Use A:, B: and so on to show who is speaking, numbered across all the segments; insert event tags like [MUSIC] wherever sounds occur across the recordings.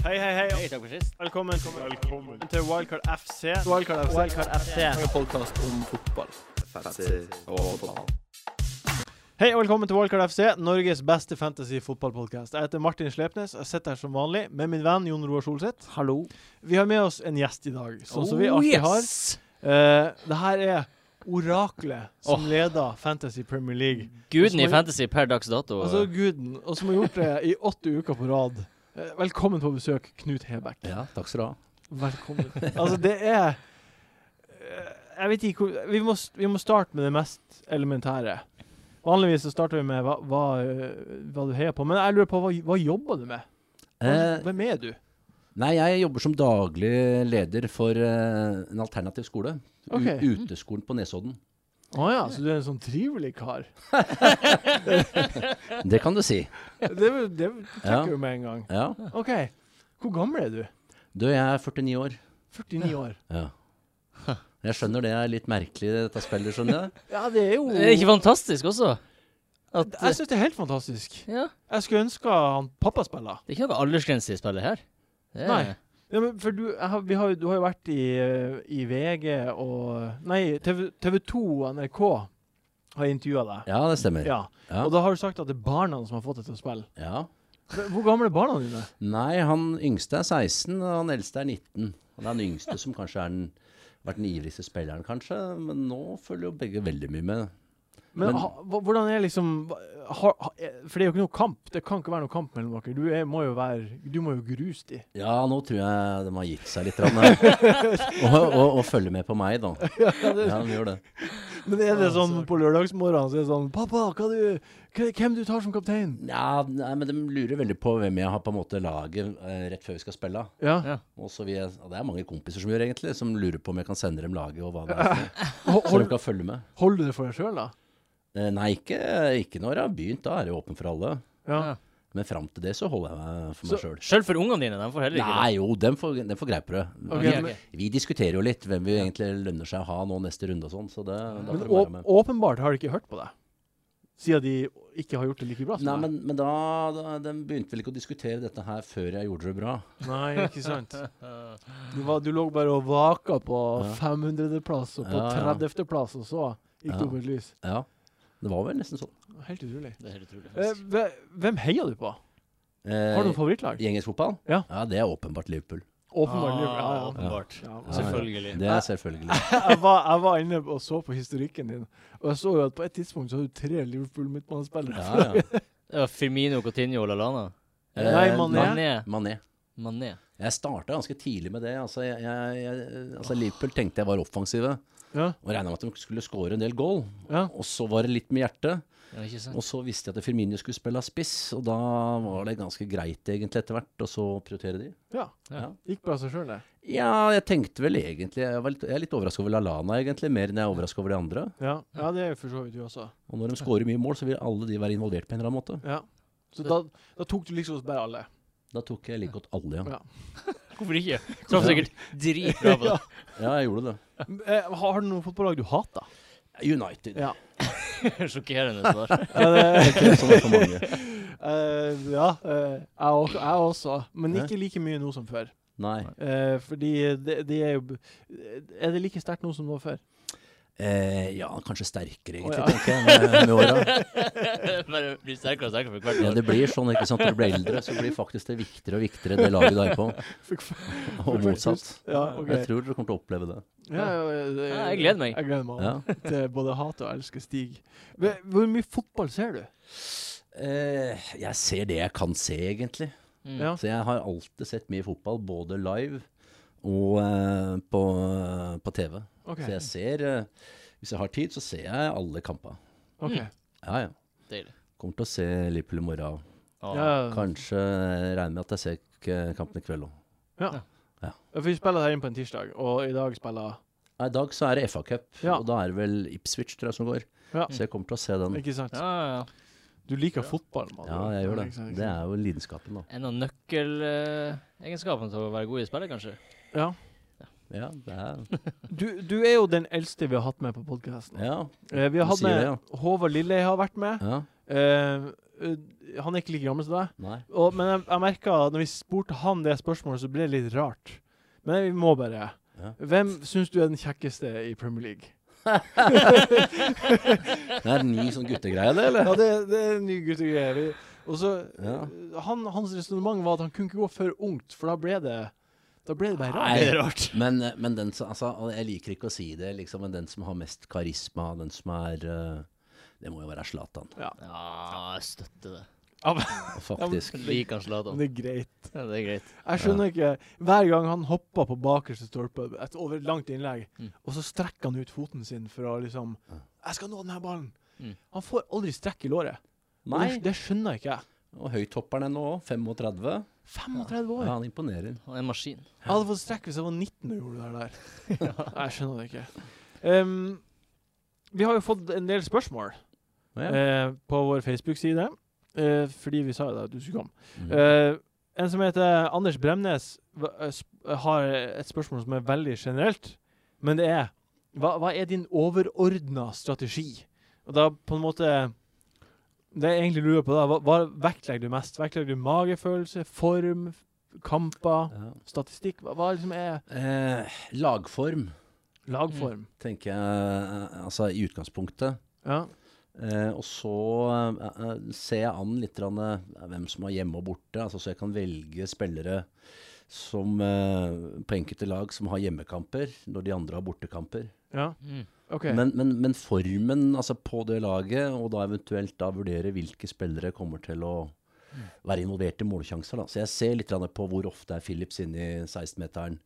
A: Hei, hei, hei.
B: takk for sist.
A: Velkommen, til Wildcard FC.
C: Wildcard FC.
A: Wildcard FC.
C: En podkast om fotball.
A: Hei og velkommen til Wildcard FC, Norges beste fantasy-fotballpodkast. Jeg heter Martin Slepnes. Jeg sitter her som vanlig med min venn Jon Roar Solseth.
C: Hallo.
A: Vi har med oss en gjest i dag, sånn som vi
B: Oh,
A: alltid har. Uh, det her er oraklet som
B: Åh.
A: leder Fantasy Premier League.
B: Guden
A: Hvordan
B: i
A: var-
B: fantasy per dags dato.
A: Sånn Altså guden, og som har gjort det i åtte uker på rad. Eh, Velkommen på besøk, Knut Hebekk.
C: Ja, takk skal du ha.
A: Velkommen. [LAUGHS] altså, det er eh, Jeg vet ikke hvor vi må, s- vi må starte med det mest elementære. Vanligvis så starter vi med hva, hva, eh, hva du heier på, men jeg lurer på hva, hva jobber du med? Hva,
C: Eh,
A: hvem er du?
C: nei, jeg jobber som daglig leder for eh, en alternativ skole. U
A: Ok.
C: Uteskolen på Nesodden.
A: Å ja, så du er en sånn trivelig kar.
C: Det kan du si.
A: Det, det, det
C: Ja.
A: trekker du med en gang.
C: Ja.
A: OK. Hvor gammel er du?
C: Du, jeg er 49 år.
A: 49 år.
C: Ja. Jeg skjønner det er litt merkelig, dette spillet, skjønner jeg.
A: Ja, det er jo
B: Er det ikke fantastisk også? At, eh,
A: Jeg syns det er helt fantastisk.
B: ja,
A: Jeg skulle ønske han pappa spiller.
B: det er ikke noe aldersgrense i spillet her.
C: Eh.
B: Det er-
A: Nei. Ja, men for du, jeg har, vi har, jo- du har jo vært i, eh, i VG og Nei, TV, TV 2 og NRK har intervjua deg.
C: Ja, det stemmer.
A: Ja.
C: Ja.
A: Og da har du sagt at det er barna som har fått deg til å spille.
C: ja.
A: Men Hvor gamle er barna dine?
C: Nei, han yngste er 16, og han eldste er 19. Han er den yngste som kanskje er den, vært den ivrigste spilleren, kanskje. Men nå følger jo begge veldig mye med.
A: Men,
C: Men-
A: ha, hva- hvordan er liksom hva- har, ha, eh, For det er jo ikke noe kamp. Det kan ikke være noe kamp mellom dere. Du er, må jo være Du må jo gruse [LAUGHS] de.
C: Ja, nå tror jeg de har gitt seg litt. Rann, og,
A: [LAUGHS]
C: og, og følger med på meg, da. Ja, de gjør det.
A: Men er det sånn på lørdagsmorgenen så er det sånn 'Pappa, hva du, hva- hvem du tar som kaptein?'
C: Ja, nei, men de lurer veldig på hvem jeg har på en måte laget eh, rett før vi skal spille.
A: Ja.
C: Og så vil jeg, og det er mange kompiser som gjør egentlig, som lurer på om jeg kan sende dem laget og hva det er.
A: [LAUGHS]
C: for
A: Hol-
C: noe, Så de
A: Hold,
C: kan følge med.
A: holder du det for deg sjøl, da?
C: Eh, Nei, ikke, ikke når jeg har begynt. Da er det jo åpen for alle.
A: Ja.
C: Men fram til det så holder jeg meg for meg sjøl.
B: Selv for ungene dine, de får heller ikke
C: Nei, jo, dem får, dem får greie på det.
A: Ok,
C: Vi-
B: men-
C: Vi diskuterer jo litt hvem vi egentlig lønner seg å ha nå neste runde og sånn, så det, da
A: Men
C: får de være
A: å,
C: med.
A: åpenbart har de ikke hørt på deg. Siden de ikke har gjort det like bra som
C: Nei,
A: deg.
C: men, men da, da De begynte vel ikke å diskutere dette her før jeg gjorde det bra.
A: Nei, ikke sant. [LAUGHS] Du, var, du lå bare og vaka på
C: Ja.
A: 500.-plass og på
C: Ja, ja.
A: 30.-plass, og så gikk det
C: Ja.
A: opp et lys.
C: Ja. Det var vel nesten sånn.
A: Helt utrolig.
B: det. Det er helt utrolig.
A: Eh,
B: faktisk.
A: hve- hvem heier du på?
C: Eh,
A: Har du noe favorittlag?
C: I engelsk fotball?
A: Ja.
C: det er åpenbart Liverpool.
A: Åpenbart. Liverpool.
B: Ah,
A: Ja, ja.
B: åpenbart.
A: Ja,
C: Ja,
A: selvfølgelig.
B: Selvfølgelig.
C: Det er selvfølgelig.
A: [LAUGHS] jeg, var, jeg var inne og så på historikken din, og jeg så jo at på et tidspunkt så hadde du tre Liverpool-midtbanespillere.
C: Ja, ja.
B: Det var Firmino, Coutinho og Lallana.
C: Eh,
A: [LAUGHS] Nei, Mané.
B: Mané.
C: Mané.
B: Mané.
C: Jeg starta ganske tidlig med det. Altså, jeg, jeg, jeg, altså Liverpool tenkte jeg var offensive,
A: Ja.
C: og regna med at de skulle score en del goal.
A: Ja.
C: Og så var det litt med hjertet.
B: Ja, ikke sant?
C: Og så visste jeg at Firmino skulle spille spiss, og da var det ganske greit egentlig etter hvert, og så prioritere de.
A: ja.
C: Ja.
A: Gikk bra seg sjøl, det.
C: Ja, jeg tenkte vel egentlig Jeg, var litt, jeg er litt overraska over Lallana, egentlig, mer enn jeg er overraska over de andre.
A: Ja. ja, det er jo for så vidt du også.
C: Og når de scorer mye mål, så vil alle de være involvert på en eller annen måte.
A: Ja. Så da, da tok du liksom bare alle.
C: Da tok jeg like godt alle, ja.
A: Ja.
B: Hvorfor ikke? Traff sikkert dritbra
A: [LAUGHS]
B: på det.
C: Ja, jeg gjorde det.
A: Eh, har du noe fotballag du
C: [LAUGHS]
A: hater?
C: United.
A: Ja.
B: Sjokkerende
A: [LAUGHS]
B: svar.
A: Eh,
C: Det er sånn for mange.
A: [LAUGHS] eh, ja eh, jeg, også, jeg også. Men ikke like mye nå som før.
C: Nei.
A: Eh, fordi det, det er jo b- Er det like sterkt nå som det
C: [LAUGHS]
A: var før?
C: Eh, ja, kanskje sterkere,
A: Å, ja.
C: egentlig, tenker jeg, med, med
A: [LAUGHS]
C: åra.
B: Bare blir sterkere og sterkere for hvert
C: Ja,
B: år.
C: det blir sånn, ikke sant. Når du blir eldre, så blir faktisk det viktigere og viktigere, det laget du er
A: [LAUGHS]
C: på.
A: Fikk f-
C: Og motsatt.
A: Ja, ok.
C: Jeg tror dere kommer til å oppleve det.
A: Ja, ja, det-
B: Ja, jeg gleder meg.
A: Jeg gleder meg
C: Ja.
A: også til både hate og elske Stig. Hve- Hvor mye fotball ser du?
C: Eh, jeg ser det jeg kan se, egentlig.
B: Mm.
A: Ja.
C: Så jeg har alltid sett mye fotball, både live og eh, på, på TV.
A: OK.
C: Så jeg ser, eh, hvis jeg har tid, så ser jeg alle kamper.
B: Mm.
A: ok.
C: Ja, ja.
B: Deilig.
C: Kommer til å se Liverpool i morgen.
B: Ah.
A: Ja,
C: Kanskje jeg regner med at jeg ser k- kampen i kveld òg.
A: ja.
C: Ja.
A: For Vi spiller her inn på en tirsdag, og i dag spiller
C: I dag så er det FA-cup,
A: Ja.
C: og da er det vel Ipswich tror jeg som går.
A: Ja.
C: Så jeg kommer til å se den.
A: Ikke sant?
B: Ja, ja, ja.
A: Du liker fotball, mann.
C: Mm. Ja, jeg gjør det. Det er jo lidenskapen, da.
B: En av nøkkelegenskapene til å være god i spillet, kanskje.
A: Ja.
C: Ja, det er,
A: Du, du er jo den eldste vi har hatt med på podkasten.
C: [LAUGHS] ja,
A: Eh, vi har
C: Du
A: hatt
C: sier
A: med
C: det,
A: Håvard Lilleheie har vært med.
C: ja.
A: Eh, eh, Han er ikke like gammel som deg.
C: Nei.
A: Og, men jeg, jeg merka at når vi spurte han det spørsmålet, så ble det litt rart. Men vi må bare.
C: Ja.
A: Hvem syns du er den kjekkeste i Premier
C: [LAUGHS]
A: League?
C: Det er en ny sånn guttegreie, det, eller?
A: Ja, det, det er en ny guttegreie. Vi- Og så
C: Ja.
A: eh, han, Hans resonnement var at han kunne ikke gå for ungt, for da ble det Da ble det bare rart.
C: Nei.
B: Det er rart.
C: Men, men den som altså, og Jeg liker ikke å si det, liksom, men den som har mest karisma, den som er eh, Det må jo være Zlatan,
B: Ja, jeg støtter det.
C: faktisk.
B: Liker han
C: sånn.
B: Zlatan.
A: Det er greit.
B: Ja, det er greit.
A: Jeg skjønner ikke Hver gang han hoppa på bakerste stolpe et, over et langt innlegg,
B: Mm.
A: og så strekker han ut foten sin for å liksom
C: Ja.
A: 'Jeg skal nå denne ballen!'
B: Mm.
A: Han får aldri strekk i låret. Og
C: Nei.
A: Det, det skjønner ikke jeg.
C: Og høythopperen er nå 35.
A: 35
C: Ja,
A: år!
C: han imponerer.
B: Han er en maskin.
A: Jeg hadde fått strekk hvis jeg var 19 og gjorde det der. Nei,
C: [LAUGHS]
A: Jeg skjønner det ikke. Ehm, vi har jo fått en del spørsmål
C: Ja.
A: eh, på vår Facebook-side, eh, fordi vi sa jo da at du skulle komme.
C: Mm.
A: Eh, en som heter Anders Bremnes, hva- eh, sp- har et spørsmål som er veldig generelt. Men det er Hva, hva er din overordna strategi? Og da på en måte Det jeg egentlig lurer på, da, hva, hva vektlegger du mest? Vektlegger du magefølelse, form, kamper,
C: Ja.
A: statistikk? Hva, hva liksom er
C: Eh, lagform, Mm.
A: lagform?
C: tenker jeg, eh, altså i utgangspunktet.
A: Ja.
C: Eh, og så eh, eh, ser jeg an litt grann, eh, hvem som er hjemme og borte, altså, så jeg kan velge spillere som, eh, på enkelte lag som har hjemmekamper, når de andre har bortekamper.
A: ja.
B: Mm.
A: OK.
C: Men, men, men formen altså, på det laget, og da eventuelt da vurdere hvilke spillere kommer til å være involvert i målsjanser. Da. Så jeg ser litt grann på hvor ofte er Phillips inne i 16-meteren.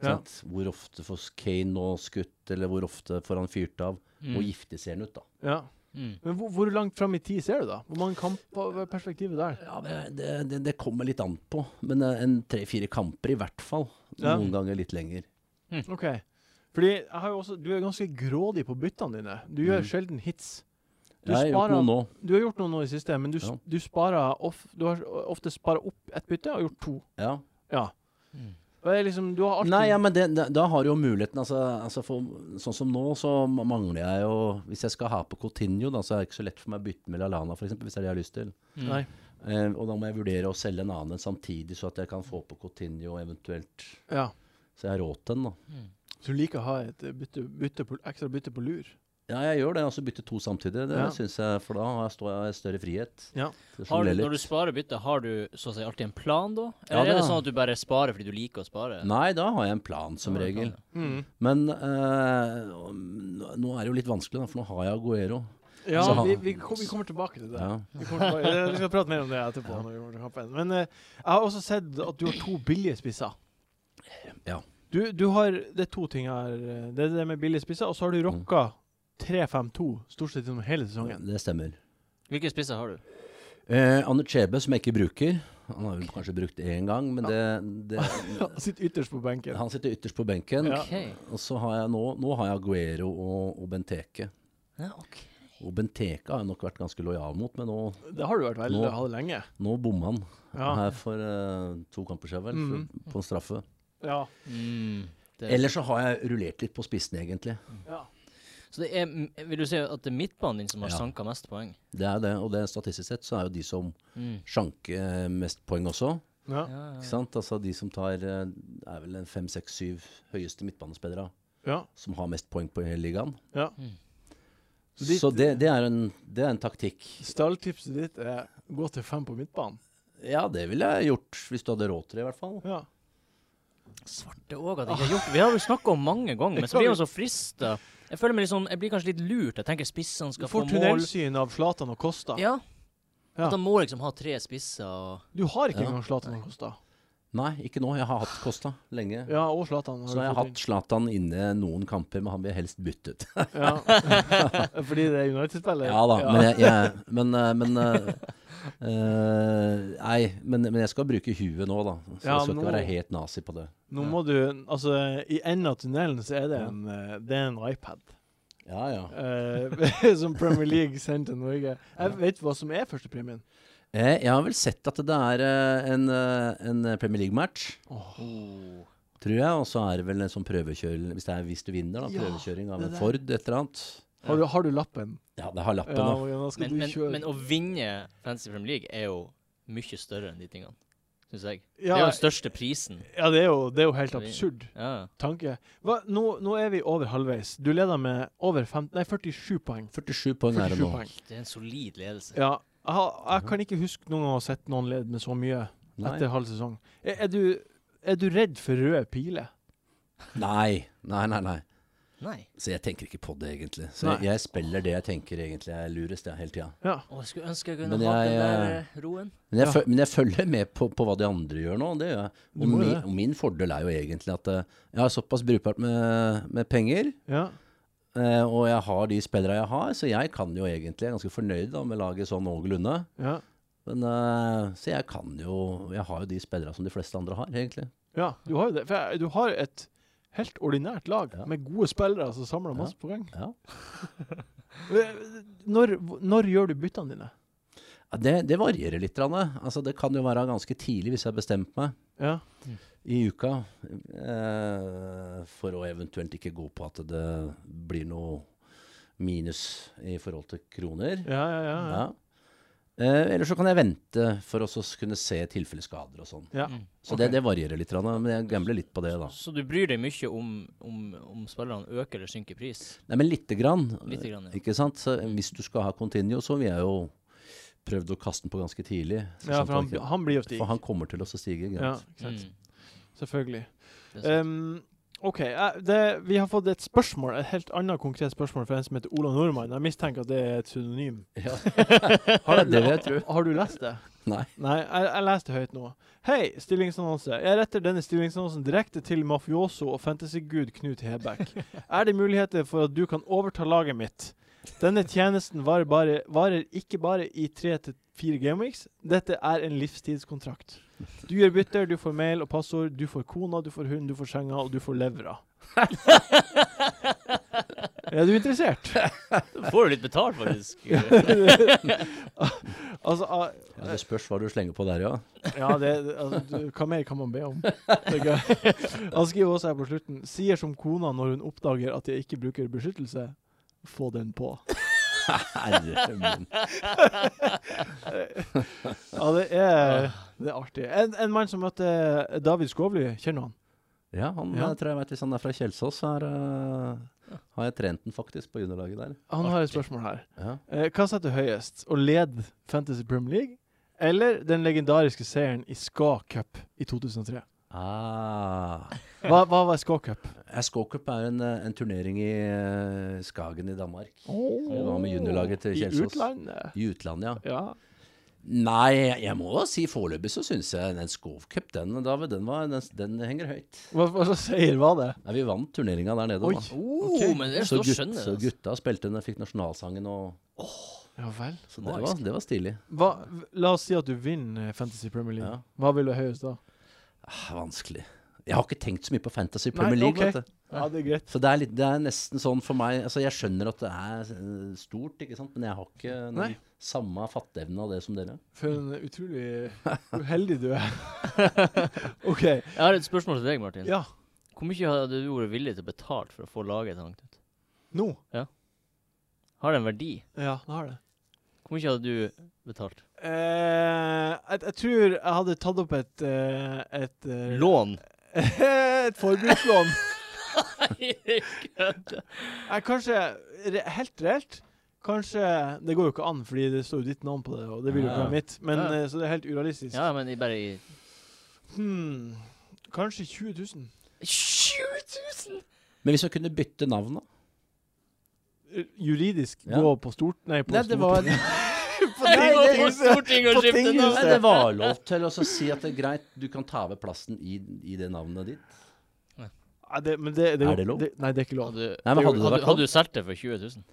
A: Ja.
C: sant? Hvor ofte får Kane nå skutt, eller hvor ofte får han fyrt av?
B: Mm.
C: Og giftig ser han ut, da.
A: ja.
B: Mm.
A: Men hvor, hvor langt fram i tid ser du, da? Hvor mange kamper hva er perspektivet der?
C: Ja, men det, det, det kommer litt an på, men eh, en tre-fire kamper i hvert fall.
A: Ja.
C: Noen ganger litt lenger.
A: OK. Fordi jeg har jo også, du er ganske grådig på byttene dine. Du gjør
C: Mm.
A: sjelden hits. Du
C: jeg har gjort
A: sparer-
C: noe nå.
A: Du har gjort noe nå i det siste, men du, s-
C: Ja.
A: du, sparer of, du har ofte spara opp ett bytte og gjort to.
C: Ja.
A: Ja.
B: Mm.
A: Og det er liksom, du har alltid
C: Nei, ja, men det, da- da har du jo muligheten. Altså, altså for, sånn som nå, så mangler jeg jo Hvis jeg skal ha på Coutinho, da, så er det ikke så lett for meg å bytte med Lallana, f.eks., hvis det er det jeg har lyst til.
B: Mm.
A: Nei.
C: Eh, og da må jeg vurdere å selge en annen samtidig, så at jeg kan få på Coutinho eventuelt
A: Ja.
C: Så jeg har råd til den, da.
B: Mm.
A: Så du liker å ha et eh, bytte, bytte på, ekstra bytte på lur?
C: Ja, jeg gjør det. Altså bytte to samtidig, det
A: Ja.
C: synes jeg, for da har jeg stå- har jeg større frihet.
A: Ja.
C: til å
B: Har du,
C: sjonglere litt.
B: når du sparer bytte, har du så å si alltid en plan da? Eller
C: Ja,
B: er det
C: da.
B: sånn at du bare sparer fordi du liker å spare?
C: Nei, da har jeg en plan, som
B: Ja, det er
C: regel.
B: plan,
A: Mm.
C: Men eh, nå nå er det jo litt vanskelig, da, for nå har jeg Aguero.
A: Ja,
C: Så han-
A: vi, vi, kom, vi kommer tilbake til det.
C: Ja.
A: Vi, kommer tilbake, Eh, vi skal prate mer om det etterpå. når vi kommer til kampen. Men eh, jeg har også sett at du har to billige spisser.
C: Ja.
A: Du, du har, det er to ting her. eh, Det er det med billige spisser, og så
C: Mm.
A: har du rocka 3-5-2 stort sett gjennom hele sesongen.
C: Det stemmer.
B: Hvilke spisser har du?
C: Eh, Anne Chebe, som jeg ikke bruker. Han har vel kanskje brukt én gang, men det,
A: [LAUGHS]
C: det
A: Sitt ytterst på benken.
C: Han sitter ytterst på benken.
A: Ja.
B: Ok.
C: Og så har jeg nå, nå har jeg Aguero og, og Benteke.
B: Ja, ok.
C: Og Benteke har jeg nok vært ganske lojal mot, men nå,
A: Det har du vært veldig
C: Nå-
A: ha det lenge.
C: nå bomma han
A: Ja.
C: her for eh, to kamper siden, vel, for- på en straffe.
A: Ja.
B: Mm. Det-
C: Eller så har jeg rullert litt på spissen, egentlig.
A: ja.
B: Så det er, m- vil du si at det er midtbanen din som har
C: Ja.
B: sanket mest poeng?
C: Det er det, og det, statistisk sett så er jo de som
B: Mm.
C: sjanker eh, mest poeng også.
A: ja.
B: Ja, ja.
C: Ikke sant? Altså de som tar eh, er vel en fem, seks, syv høyeste midtbanespillere
A: ja.
C: som har mest poeng på hele ligaen.
A: ja. Så ditt-
C: Så det, det, er en, det er en taktikk.
A: Stalltipset ditt er gå til fem på midtbanen.
C: Ja, det ville jeg gjort hvis du hadde råd til det, i hvert fall.
A: Ja.
B: Svarte òg at
A: Ah.
B: jeg ikke har gjort Vi har jo snakka om mange ganger, men så blir man så frista. Jeg føler meg litt sånn Jeg blir kanskje litt lurt. Jeg tenker spissene
A: Du
B: skal få
A: får
B: mål.
A: tunnelsyn av Zlatan og Kosta.
B: Ja.
A: Ja.
B: At han må liksom ha tre spisser og
A: Du har ikke
C: Ja.
A: engang Zlatan og Kosta.
C: Nei, ikke nå. Jeg har hatt Kosta lenge.
A: Ja, og Zlatan.
C: Så jeg har hatt Zlatan inne noen kamper, men han blir helst byttet.
A: Ja. [LAUGHS] Fordi det er United-spillet?
C: ja da, men jeg, jeg Men, eh, men eh, eh, Nei, men, men jeg skal bruke huet nå, da. Så
A: Ja,
C: jeg skal
A: nå-
C: ikke være helt nazi på det.
A: Nå må du Altså, i enden av tunnelen så er det en, eh, det er en iPad.
C: Ja, ja.
A: eh, [LAUGHS] som Premier League sendte til Norge. Jeg vet hva som er førstepremien.
C: Eh, Jeg har vel sett at det er eh, en, eh, en Premier League-match,
B: oh.
C: tror jeg. Og så er det vel en sånn prøvekjøring, hvis, det er, hvis du vinner, da.
A: Ja,
C: Prøvekjøring av
A: det
C: en
A: der.
C: Ford, et eller annet.
A: Har du, har du lappen?
C: Ja, det har lappen.
A: Ja,
C: da.
A: Morgan, da skal
B: Men,
A: du
B: men,
A: kjøre.
B: men å vinne Fantasy Premier League er jo mye større enn de tingene, syns jeg. Det
A: ja,
B: er jo den største prisen.
A: ja, det er jo, det er jo helt absurd
B: Ja.
A: tanke. Hva, nå, nå er vi over halvveis. Du leder med over fem, nei, 47 poeng.
C: 47 poeng er det
A: 47
C: nå. Mhm.
A: poeng.
B: Det er en solid ledelse.
A: Ja. Jeg, har- jeg kan ikke huske noen gang å ha sett noen lede med så mye
C: Nei.
A: etter halv sesong. Er, er, du, er du redd for røde piler?
C: nei, nei, nei. nei.
B: Nei.
C: Så jeg tenker ikke på det, egentlig. Så
A: Nei.
C: jeg, jeg spiller det jeg tenker egentlig er lurest, jeg, hele tida.
A: Ja.
B: Å, jeg skulle ønske jeg kunne
C: Men
B: hatt den
C: jeg,
B: der eh, roen.
C: Men jeg,
A: Ja.
C: føl- men jeg følger med på, på hva de andre gjør nå, det gjør jeg.
A: Du
C: Og
A: må jo
C: min,
A: det.
C: og min fordel er jo egentlig at eh, jeg har såpass brukbart med, med penger,
A: ja.
C: eh, og jeg har de spillere jeg har, så jeg kan jo egentlig, jeg er ganske fornøyd da, med laget sånn noenlunde.
A: Ja.
C: Men, eh, så jeg kan jo, jeg har jo de spillere som de fleste andre har, egentlig.
A: ja. Du har jo det. For jeg, du har et helt ordinært lag
C: Ja.
A: med gode spillere som samler masse poeng. [LAUGHS] Eh,
C: Ja.
A: Når, når gjør du byttene dine?
C: Ja, Det, det varierer litt. grann, eh. Altså, det kan jo være ganske tidlig hvis jeg har bestemt meg
A: Ja.
C: i uka eh, for å eventuelt ikke gå på at det blir noe minus i forhold til kroner.
A: Ja, ja, ja. ja.
C: Ja. Eh, eller så kan jeg vente for å så s- kunne se tilfelle skader og sånn.
A: Ja.
B: Mm.
C: Så
A: Ok.
C: det, det varierer litt, grann, men jeg gambler litt på det, da.
B: Så du bryr deg mye om, om, om spillerne øker eller synker i pris?
C: Nei, men lite grann.
B: Lite grann, ja.
C: Ikke sant? Så eh, hvis du skal ha Continuo, så vil jeg jo prøvd å kaste den på ganske tidlig. så
A: ja
C: sant
A: for han,
C: at ikke-
A: han blir jo stig.
C: for han kommer til å så stige. Greit.
A: Ja, ikke sant.
B: Mm.
A: Selvfølgelig.
B: Det er sant.
A: Um, OK. eh, Det, vi har fått et spørsmål, et helt annet konkret spørsmål fra en som heter Ola Nordmann. Jeg mistenker at det er et synonym.
C: Ja. [LAUGHS]
A: Har,
C: Det vil jeg tro.
A: har du lest det?
C: Nei.
A: Nei, jeg, jeg leste høyt nå. Hei, stillingsannonse. Jeg retter denne stillingsannonsen direkte til mafioso og fantasygud Knut Hebekk. Er det muligheter for at du kan overta laget mitt? Denne tjenesten varer, bare, varer ikke bare i tre til fire gameweeks. Dette er en livstidskontrakt. Du gjør bytter, du får mail og passord, du får kona, du får hund, du får senga, og du får
C: [LAUGHS]
A: levra. er du
C: [LAUGHS]
A: interessert? [LAUGHS]
B: Da får du litt betalt, faktisk.
A: altså, ah,
C: Ja, det spørs hva du slenger på der,
A: [LAUGHS]
C: ja.
A: Ja, det, det- altså, du, hva mer kan man be om? tenker jeg. Han skriver også her på slutten Sier som kona når hun oppdager at jeg ikke bruker beskyttelse. Få den på.
C: Herre min.
A: Ja, det er, det er artig. En, en mann som møtte David Skovly, kjenner du han?
C: Ja, han
A: Ja.
C: Jeg tror jeg vet hvis han er fra Kjelsås, så er, eh, har jeg trent den faktisk på juniorlaget der.
A: Han har et spørsmål her.
C: Ja.
A: Eh, Hva setter høyest? Å lede Fantasy Premier League eller den legendariske seieren i Ska Cup i 2003?
C: Ah.
A: Hva, hva var Ska Cup?
C: Skåcup er en, eh, en turnering i eh, Skagen i Danmark. Det var med juniorlaget til
A: I
C: Kjelsås.
A: utlandet.
C: I utlandet, ja.
A: Ja.
C: Nei, jeg må si foreløpig så syns jeg den Skåcup, den, David, den, var, den, den henger høyt.
A: Hva, hva slags seier var det?
C: Nei, vi vant turneringa der nede,
A: Oi.
C: da.
B: oh, men det er
C: Så,
B: så altså.
C: gutt,
B: skjønner
C: så
B: jeg det.
C: gutta spilte den, fikk nasjonalsangen og
A: Ja vel.
C: Så det var, det var stilig.
A: Hva, v- la oss si at du vinner Fantasy Premier League.
C: Ja.
A: Hva vil du ha høyest da?
C: Ah, vanskelig. Jeg har ikke tenkt så mye på Fantasy
A: Nei,
C: Premier League,
A: ok.
C: vet du.
A: Ja, det er greit.
C: Så det er, litt, det er nesten sånn for meg Altså, jeg skjønner at det er eh, stort, ikke sant, men jeg har ikke den
A: Nei.
C: samme fatteevnen av det som dere.
A: For en utrolig uheldig du er. OK.
B: Jeg har et spørsmål til deg, Martin.
A: Ja,
B: Hvor mye hadde du vært villig til å betale for å få laget til langt ut?
A: nå.
B: Har det en verdi?
A: Ja, nå har det.
B: Hvor mye hadde du betalt?
A: Eh, jeg, jeg tror jeg hadde tatt opp et eh, et, eh,
C: [LAUGHS]
B: Lån?
A: [LAUGHS] et forbrukslån.
B: Kødde.
A: Jeg, kanskje re, Helt reelt Kanskje Det går jo ikke an, fordi det står jo ditt navn på det, og det vil jo ikke
C: Ja.
A: være mitt. Men,
B: Ja.
A: eh, Så det er helt urealistisk.
B: ja, men i bare i
A: Hmm, kanskje 20 000.
B: 7000!
C: Men hvis jeg kunne bytte navn, da?
A: Eh, Juridisk
C: Ja.
A: gå på stort Nei, på
C: Nei,
B: [LAUGHS]
C: det var,
A: Stortinget.
B: Nei,
A: Nei,
B: det
A: det-
B: på Stortinget
A: på
B: og skifte
A: tinghuset.
B: navn!
C: nei, det var lov til å så si at det er greit, du kan ta over plassen i, i det navnet ditt.
A: Nei, det, men det, det,
C: Er det lov?
A: nei, det er ikke lov.
B: Hadde,
C: Nei, men hadde det
B: hadde,
C: vært
B: hadde du solgt det for 20 000?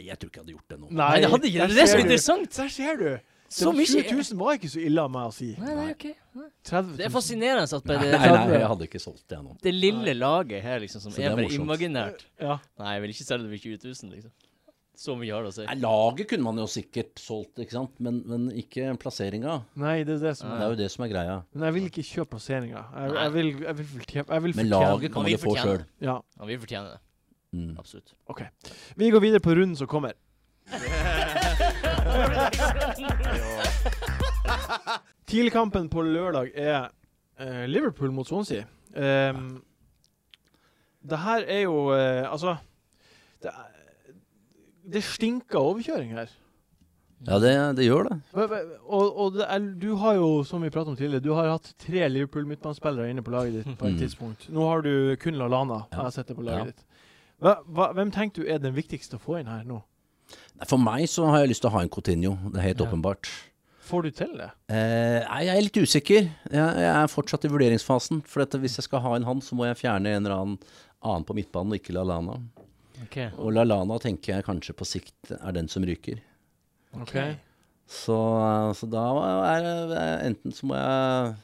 C: Jeg tror ikke jeg hadde gjort det nå.
A: Nei,
B: det hadde ikke
A: der
B: det. Det er
A: ser
B: så
A: du.
B: interessant!
A: Der ser du! Det
B: Så
A: var
B: mye
A: 20 000 var ikke så ille av meg å si.
B: Nei, nei, ok. Nei.
A: 30 000.
B: Det er fascinerende at
C: Nei,
B: bare det,
C: nei, nei, jeg hadde ikke solgt det ennå.
B: det lille laget her liksom som
C: Så det
B: er
C: er
B: bare
C: morsomt.
B: imaginært
A: Ja.
B: Nei, jeg vil ikke selge det for 20 000, liksom. Så mye har det å si.
C: Nei, Laget kunne man jo sikkert solgt, ikke sant? Men, men ikke plasseringa.
A: Nei, det er det som
C: Det
A: er
C: er jo det som er greia.
A: Men jeg vil ikke kjøpe plasseringa. Jeg,
B: Nei.
A: jeg vil, jeg vil fortjene jeg vil
C: Men
A: fortjene-
C: laget kan
B: Og
C: man
B: vi
C: jo få
B: fortjener
C: sjøl.
A: Ja.
B: Ja, vi fortjener det.
C: Mm.
B: [LAUGHS] Absolutt.
A: OK. Vi går videre på runden som kommer. Tidligkampen på lørdag er eh, Liverpool mot Swansea. Um, det her er jo eh, Altså det, er- det stinker overkjøring her.
C: Ja, det, det gjør det.
A: Og, og og det er, du har jo, som vi pratet om tidligere, du har hatt tre Liverpool-midtbanespillere inne på laget ditt på et
C: Mm.
A: tidspunkt. Nå har du kun Lallana. Jeg har sett det på
C: Ja.
A: laget ditt. Hva, hva, hvem tenker du er den viktigste å få inn her nå?
C: Nei, For meg så har jeg lyst til å ha en Coutinho, det er helt
B: Ja.
C: åpenbart.
A: Får du til det?
C: Eh, nei, jeg er litt usikker. Jeg, jeg er fortsatt i vurderingsfasen. For at hvis jeg skal ha en han, så må jeg fjerne en eller annen annen på midtbanen, og ikke Lallana.
B: Ok.
C: Og Lallana tenker jeg kanskje på sikt er den som ryker.
A: Ok.
C: Så, eh, så da er det eh, enten så må jeg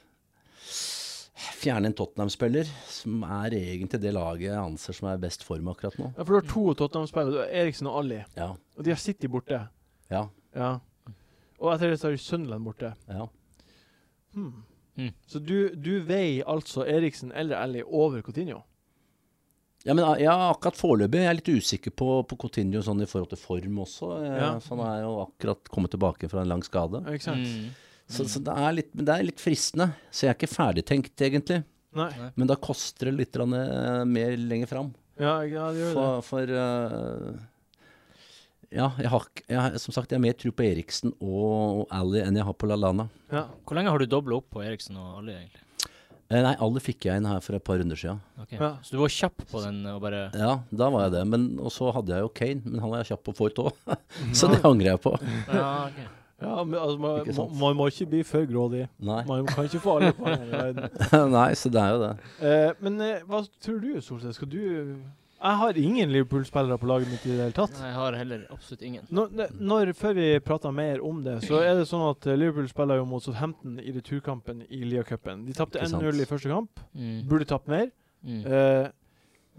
C: fjerne en Tottenham-spiller, som er egentlig det laget jeg anser som er best form akkurat nå.
A: Ja, for du har to Tottenham-spillere. Du har Eriksen og Ali.
C: Ja,
A: Og de har City borte.
C: ja,
A: Ja. Og etter det så har du Sunderland borte.
C: ja.
A: Hmm.
B: Mm.
A: Så du, du veier altså Eriksen eller Ali over Coutinho?
C: Ja, men eh, ja, akkurat foreløpig. Jeg er litt usikker på, på Coutinho sånn i forhold til form også. Eh,
A: Ja.
C: Så han er jo akkurat kommet tilbake fra en lang skade.
A: Ja, Ikke sant?
B: Mm.
C: Så, så det, er litt, men det er litt fristende. Så jeg er ikke ferdigtenkt, egentlig.
A: Nei.
C: Men da koster det litt grann, eh, mer lenger fram.
A: Ja, ja, det gjør det.
C: For, for eh, Ja, jeg har, ikke- jeg, har- som sagt, jeg har mer tro på Eriksen og, og Ally enn jeg har på Lallana.
A: Ja.
B: Hvor lenge har du dobla opp på Eriksen og alle, egentlig?
C: Eh, Nei, alle fikk jeg inn her for et par runder siden.
B: Ok.
A: Ja.
B: Så du var kjapp på den eh, og bare
C: Ja, da var jeg det. Men, og så hadde jeg jo Kane, men han var jeg kjapp på Fort òg. [LAUGHS] Så det angrer jeg på.
B: Ja, ok.
A: ja, men altså, man,
C: Ikke sant.
A: man, man må ikke bli for grådig.
C: Nei. [LAUGHS]
A: Man kan ikke få alle poengene i verden.
C: Nei, så det er jo det.
A: Eh, men eh, hva tror du, Solseth? Skal du Jeg har ingen Liverpool-spillere på laget mitt i det hele tatt.
B: Nei, jeg har heller absolutt ingen.
A: Når, ne- når, før vi prater mer om det, så er det sånn at eh, Liverpool spiller jo mot Southampton i returkampen i Lia-cupen. De tapte
C: Ikke sant.
A: 1-0 i første kamp.
B: Mm.
A: Burde tapt mer.
B: Mm.
A: Eh,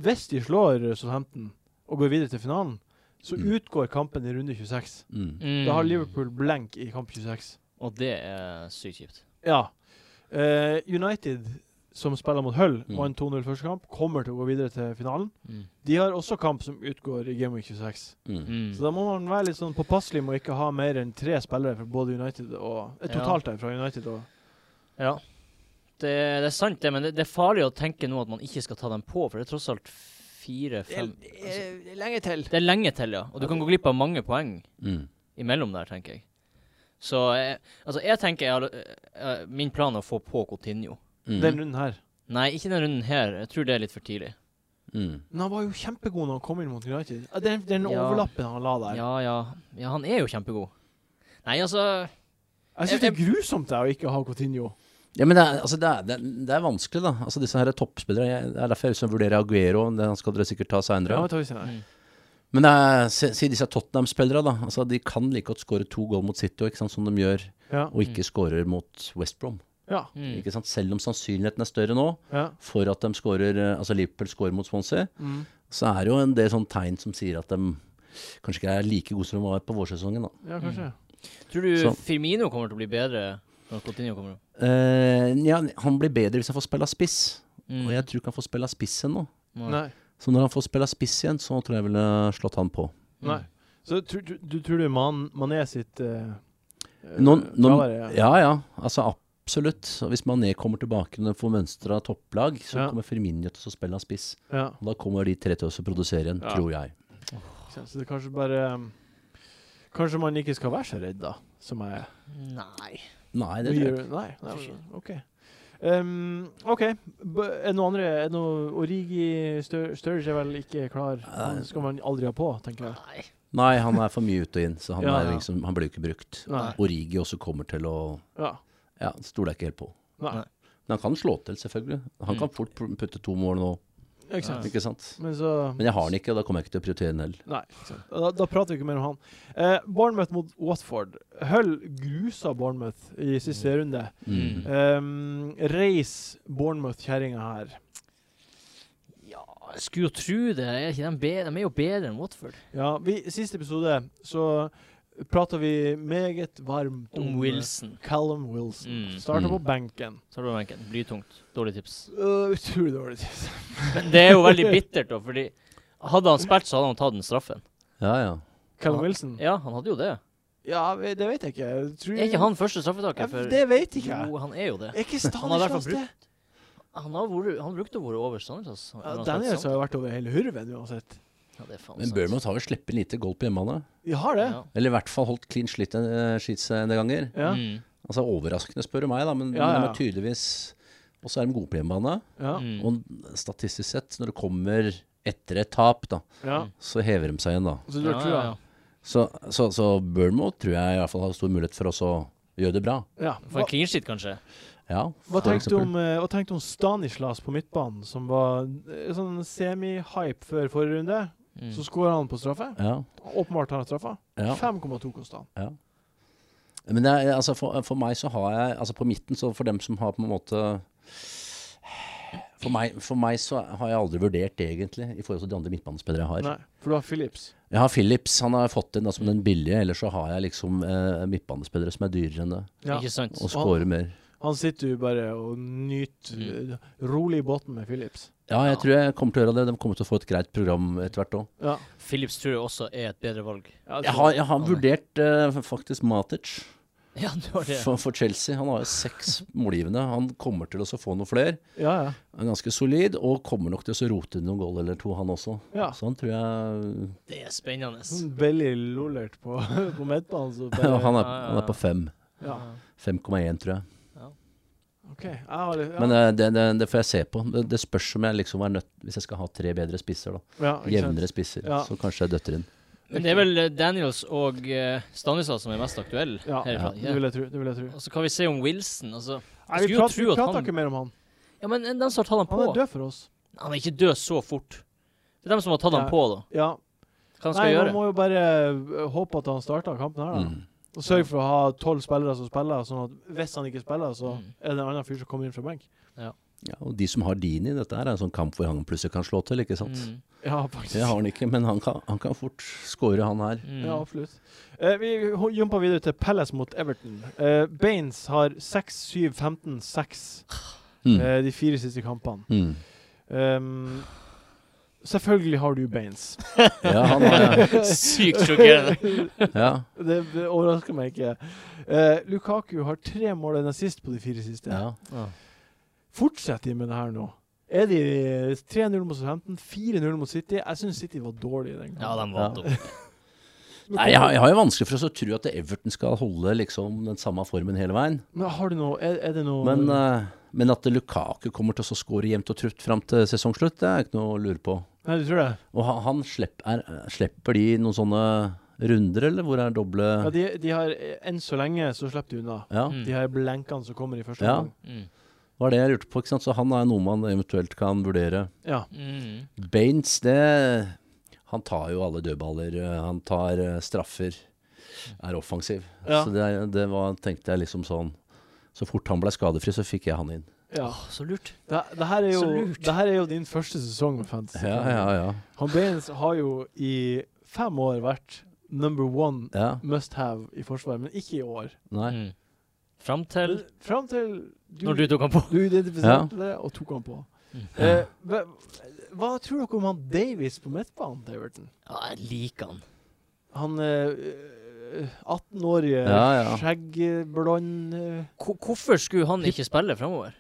A: hvis de slår Southampton og går videre til finalen, så
C: Mm.
A: utgår kampen i runde 26.
C: Mm.
B: Mm.
A: Da har Liverpool blank i kamp 26.
B: Og det er sykt kjipt.
A: Ja. Eh, United, som spiller mot Hull,
C: Mm.
A: vant 2-0 første kamp, kommer til å gå videre til finalen.
B: Mm.
A: De har også kamp som utgår i Game Week 26.
C: Mm.
B: Mm.
A: Så da må man være litt sånn påpasselig med å ikke ha mer enn tre spillere fra både United og eh,
B: Ja.
A: Totalt her fra United og
B: Ja. Det, det er sant, det, men det, det er farlig å tenke nå at man ikke skal ta dem på, for det er tross alt fire-fem
A: Lenge til.
B: Det er lenge til, ja. Og du kan gå glipp av mange poeng
C: Mm.
B: imellom der, tenker jeg. Så jeg, altså, jeg tenker jeg har, eh, eh, min plan er å få på Coutinho.
C: Mm.
A: Den runden her.
B: Nei, ikke denne runden her. Jeg tror det er litt for tidlig.
C: Mm.
A: Men han var jo kjempegod når han kom inn mot United. Ja, Den, den
B: Ja.
A: overlappen han la der.
B: Ja, ja. Ja, han er jo kjempegod. Nei, altså
A: Jeg syns det er grusomt det å ikke ha Coutinho.
C: Ja, men det er, altså det er, det er, det er vanskelig, da. Altså, disse her er toppspillere. Jeg, det er derfor jeg liksom vurderer Aguero. men Den skal dere sikkert ta
A: Ja,
C: seinere.
A: men tar vi senere.
B: mm.
C: men det er, si, si disse Tottenham-spillerne, da. Altså, de kan like godt skåre to goal mot City, og ikke sant, som de gjør,
A: Ja.
C: og ikke skårer mot West Brom.
A: Ja.
B: Mm.
C: Ikke sant? Selv om sannsynligheten er større nå
A: ja.
C: for at de skårer, eh, altså Liverpool skårer mot Swansea,
A: Mm.
C: så er det jo en del sånn tegn som sier at de kanskje ikke er like gode som de var på vårsesongen. Da.
A: ja kanskje.
B: Tror du
C: Så-
B: Firmino kommer til å bli bedre når Coutinho kommer opp?
C: Eh, ja, han blir bedre hvis han får spille spiss,
B: Mm.
C: og jeg tror ikke han får spille spiss ennå.
B: Nei.
A: Nei.
C: Så når han får spille spiss igjen, så tror jeg jeg ville slått han på.
A: Nei. Så tr du, du tror du man, Mané sitt eh, eh,
C: Noen, noen,
A: fravær er-
C: ja, ja. Altså absolutt. Og hvis Mané kommer tilbake når han får mønstra topplag, så
A: Ja.
C: kommer Firmino til å spille spiss.
A: ja.
C: Og da kommer de tre til å produsere igjen,
A: Ja.
C: tror jeg.
A: Ikke sant, Så det er kanskje bare um, Kanskje man ikke skal være så redd, da, som jeg er.
B: Mm. Nei.
C: Nei, det tror jeg.
A: Nei, nei, men, OK. Um, OK. B er det noe andre er det noe Origi Stur Sturridge er vel ikke klar? Han skal man aldri ha på, tenker jeg.
B: Nei.
C: Nei, han er for mye ut og inn, så han,
A: Ja,
C: er
A: ja.
C: liksom, han blir jo ikke brukt.
A: Nei.
C: Origi også kommer til å
A: Ja.
C: Ja, stoler jeg ikke helt på.
A: Nei.
C: Men han kan slå til, selvfølgelig.
A: Mm.
C: Han kan fort pr- putte to mål nå,
A: Ikke sant.
B: Ja.
C: ikke sant?
A: Men så
C: Men jeg har den ikke, og da kommer jeg ikke til å prioritere den heller.
A: Nei. Ikke sant. Da, da prater vi ikke mer om han. Eh, Bournemouth mot Watford. Hull grusa Bournemouth i siste runde.
C: Mm.
B: Mm.
A: Um, reis Bournemouth-kjerringa her.
B: Ja, jeg skulle jo tro det. Er ikke de, bedre? de er jo bedre enn Watford.
A: Ja, vi, I siste episode så prata vi meget varmt
B: Om Wilson.
A: Callum Wilson.
B: Mm.
A: Starta på
C: Mm.
A: benken.
B: Så har du benken. Blytungt. Dårlig tips.
A: Øh, Utrolig dårlig tips.
B: Men det er jo veldig bittert, da, fordi Hadde han spilt, så hadde han tatt den straffen.
C: Ja, ja.
A: [LAUGHS] Callum
B: Ja.
A: Wilson?
B: Ja, han hadde jo det.
A: Ja, vi- det vet jeg ikke. Jeg tror-
B: Er ikke han første
A: Jeg-
B: straffetaker for
A: Det vet ikke jeg.
B: Jo, [LAUGHS] han er jo det.
A: Er ikke
B: har i hvert fall
A: Stanislas det?
B: Han, har vært, han brukte å være over Sandnes.
A: Ja, Daniels har jo vært over hele hurven uansett.
B: Ja, det er faen
C: Men
B: sant.
C: Bournemouth har jo sluppet lite goal på hjemmebane.
A: Vi har det.
B: Ja.
C: Eller i hvert fall holdt clean shit eh, sheets en del ganger.
A: Ja.
B: Mm.
C: Altså Overraskende, spør du meg, da, men
A: Ja, ja.
C: de er tydeligvis Og så er de gode på hjemmebane.
A: Ja.
B: Mm.
C: Og statistisk sett, når det kommer etter et tap, da,
A: ja.
C: så hever de seg igjen, da.
A: Så du har
B: Ja,
A: trua?
B: ja, ja.
C: Så, så, så Bournemouth tror jeg i hvert fall har stor mulighet for også å gjøre det bra.
A: Ja.
B: For
A: Hva,
B: en clean sheet, kanskje?
C: Ja,
A: hva,
C: for
A: tenkte du
C: eksempel.
A: om, eh, hva tenkte du om Stanislas på midtbanen, som var eh, sånn semi-hype før forrige runde?
B: Mm.
A: Så skåra han på straffe.
C: Ja,
A: Åpenbart har han straffa.
C: ja.
A: 5,2 kosta han.
C: Men det er, altså for, for meg så har jeg Altså på midten, så for dem som har på en måte for meg, for meg så har jeg aldri vurdert det, egentlig, i forhold til de andre midtbanespillere jeg har.
A: Nei, for du har Philips.
C: Jeg har Philips, han har jeg fått inn da, som den billige, ellers så har jeg liksom eh, midtbanespillere som er dyrere enn det,
A: Ja.
B: Ikke sant?
C: og scorer mer.
A: Han sitter jo bare og nyter
B: Mm.
A: eh, rolig i båten med Philips.
C: Ja, jeg tror jeg kommer til å gjøre det. De kommer til å få et greit program etter hvert òg.
A: Ja.
B: Philips tror jeg også er et bedre valg. [LAUGHS]
A: altså,
C: Jeg har, jeg har vurdert eh, faktisk Matic
B: Ja, du har det.
C: for, for Chelsea. Han har jo seks målgivende. Han kommer til å så få noen flere.
A: ja, ja.
C: Han er ganske solid, og kommer nok til å så rote inn noen goal eller to, han også.
A: Ja.
C: Så han tror [LAUGHS] jeg
B: Det er spennende.
A: Sånn Belly lollert på, [LAUGHS] på midtbanen. Så
C: Ja,
A: bare,
C: han, er, han er på fem.
A: ja.
C: 5,1, tror jeg.
A: OK. Jeg har litt, ja.
C: Men eh, det, det, det får jeg se på. Det, det spørs om jeg liksom er nødt Hvis jeg skal ha tre bedre spisser, da.
A: ja, ikke sant.
C: Jevnere spisser.
A: Ja.
C: Så kanskje jeg døtter inn.
B: Men det er vel eh, Daniels og eh, Stanislas som er mest aktuelle
A: Ja,
B: herifra.
A: Det
B: Ja.
A: vil jeg tro. Det vil jeg tro.
B: Og så kan vi se om Wilson. Altså.
A: Nei,
B: skulle
A: vi
B: jo
A: prater,
B: tro
A: vi
B: at
A: prater
B: han-
A: ikke mer om han.
B: Ja, men den som har tatt han på
A: Han er død for oss.
B: Han er ikke død så fort. Det er dem som har tatt han
A: Ja.
B: på, da.
A: Ja.
B: Hva han
A: Nei,
B: skal
A: man
B: gjøre.
A: må jo bare øh, håpe at han starter kampen her, da.
C: Mm.
A: Og sørge for å ha tolv spillere som spiller, sånn at hvis han ikke spiller, så
B: Mm.
A: er det en annen fyr som kommer inn fra benk.
C: Ja, og de som har Dini, dette her er en sånn kamp hvor han plutselig kan slå til, ikke sant.
B: Mm.
A: Ja, faktisk.
C: Det har han ikke, men han kan, han kan fort score, han her.
B: Mm.
A: Ja, absolutt. Eh, vi ho- jumper videre til Palace mot Everton. Eh, Baines har 6-7-15-6
C: Mm.
A: eh, de fire siste kampene.
C: Mm.
A: Um, selvfølgelig har du Baines.
C: Ja, han har,
B: [LAUGHS] Sykt [LAUGHS] sjokkerende.
C: ja.
A: [LAUGHS] Det det overrasker meg ikke. Eh, Lukaku har tre mål enn sist på de fire siste.
C: ja.
A: Fortsetter de med det her nå? Er de 3-0 mot Southampton, 4-0 mot City? Jeg syns City var dårlig i den
B: Ja,
A: kampen.
B: den var
C: Ja.
B: dum.
C: Nei, jeg, har- jeg har jo vanskelig for å så tro at Everton skal holde liksom den samme formen hele veien.
A: Men har du noe Er, er det noe
C: Men, eh, men at Lukaku kommer til å så score jevnt og trutt fram til sesongslutt, det er ikke noe å lure på.
A: Nei, du tror det?
C: Og han, han slipper, er, slipper de noen sånne runder, eller hvor er
A: Ja,
C: doble
A: de, de har eh, Enn så lenge så slipper de unna.
C: Ja,
B: Mm.
A: De her blenkene som kommer i første
C: Ja.
A: omgang.
B: Mm.
C: var det jeg lurte på, ikke sant. Så han er noe man eventuelt kan vurdere.
A: Ja.
B: Mm.
C: Baines, det Han tar jo alle dødballer. eh, Han tar eh, straffer. Er offensiv.
A: Ja.
C: Så det, det var, tenkte jeg liksom sånn Så fort han ble skadefri, så fikk jeg han inn.
A: ja.
B: Åh, så lurt.
A: Det, det, her er jo,
B: Så lurt.
A: det her er jo din første sesong med fantasy.
C: Ja, ja, ja.
A: Han Baines har jo i fem år vært number one
C: ja
A: must have i Forsvaret, men ikke i år.
C: nei.
B: Mm. Fram til
A: Fram til du,
B: når du tok han på.
A: du identifiserte det og tok han på.
B: Mm.
A: Eh, hva, hva tror dere om han Davies på midtbanen til Everton?
B: Ja, jeg liker han.
A: Han eh, 18-årige
C: Ja, ja.
A: skjeggblond eh,
B: Ko- Hvorfor skulle han ikke spille framover?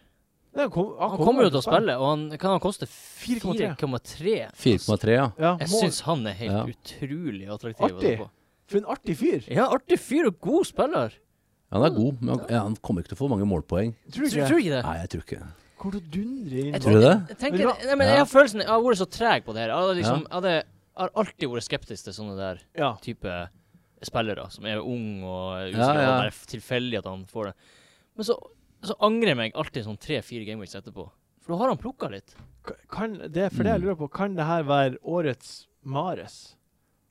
A: nei, han kom-
B: Han kommer jo til å spille, og han kan han koste 4,3.
A: 4,3.
B: Altså,
C: 4,3, ja.
A: Ja,
B: Jeg
A: må-
B: syns han er helt
C: Ja.
B: utrolig attraktiv. å
A: Artig.
B: se på.
A: For en artig fyr!
B: Ja, artig fyr og god spiller.
C: Han er god, men han, ja, han kommer ikke til å få mange målpoeng.
A: Tror du
B: Tror,
A: ikke?
B: tror ikke det?
C: Nei, jeg tror ikke
A: Kommer til å dundre inn.
B: Jeg
C: Tror du det?
B: Jeg, tenker,
A: Vet
B: nei, men jeg har følelsen Jeg har vært så treg på det her. Jeg har, liksom,
C: Ja.
B: jeg hadde, jeg har alltid vært skeptisk til sånne der
A: Ja.
B: type spillere som er ung og usikker.
C: Ja,
B: og
C: ja.
B: bare f- tilfeldig at han får det. Men så, så angrer jeg meg alltid sånn tre-fire gameweeks etterpå. For da har han plukka litt.
A: K- Kan det, for det jeg
C: Mm.
A: lurer på, kan det her være årets Mares?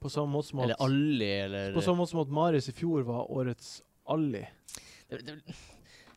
A: På samme måte som
B: Eller
A: at,
B: Ali, eller
A: på samme måte som at Mares i fjor var årets Alli.
B: det, det, det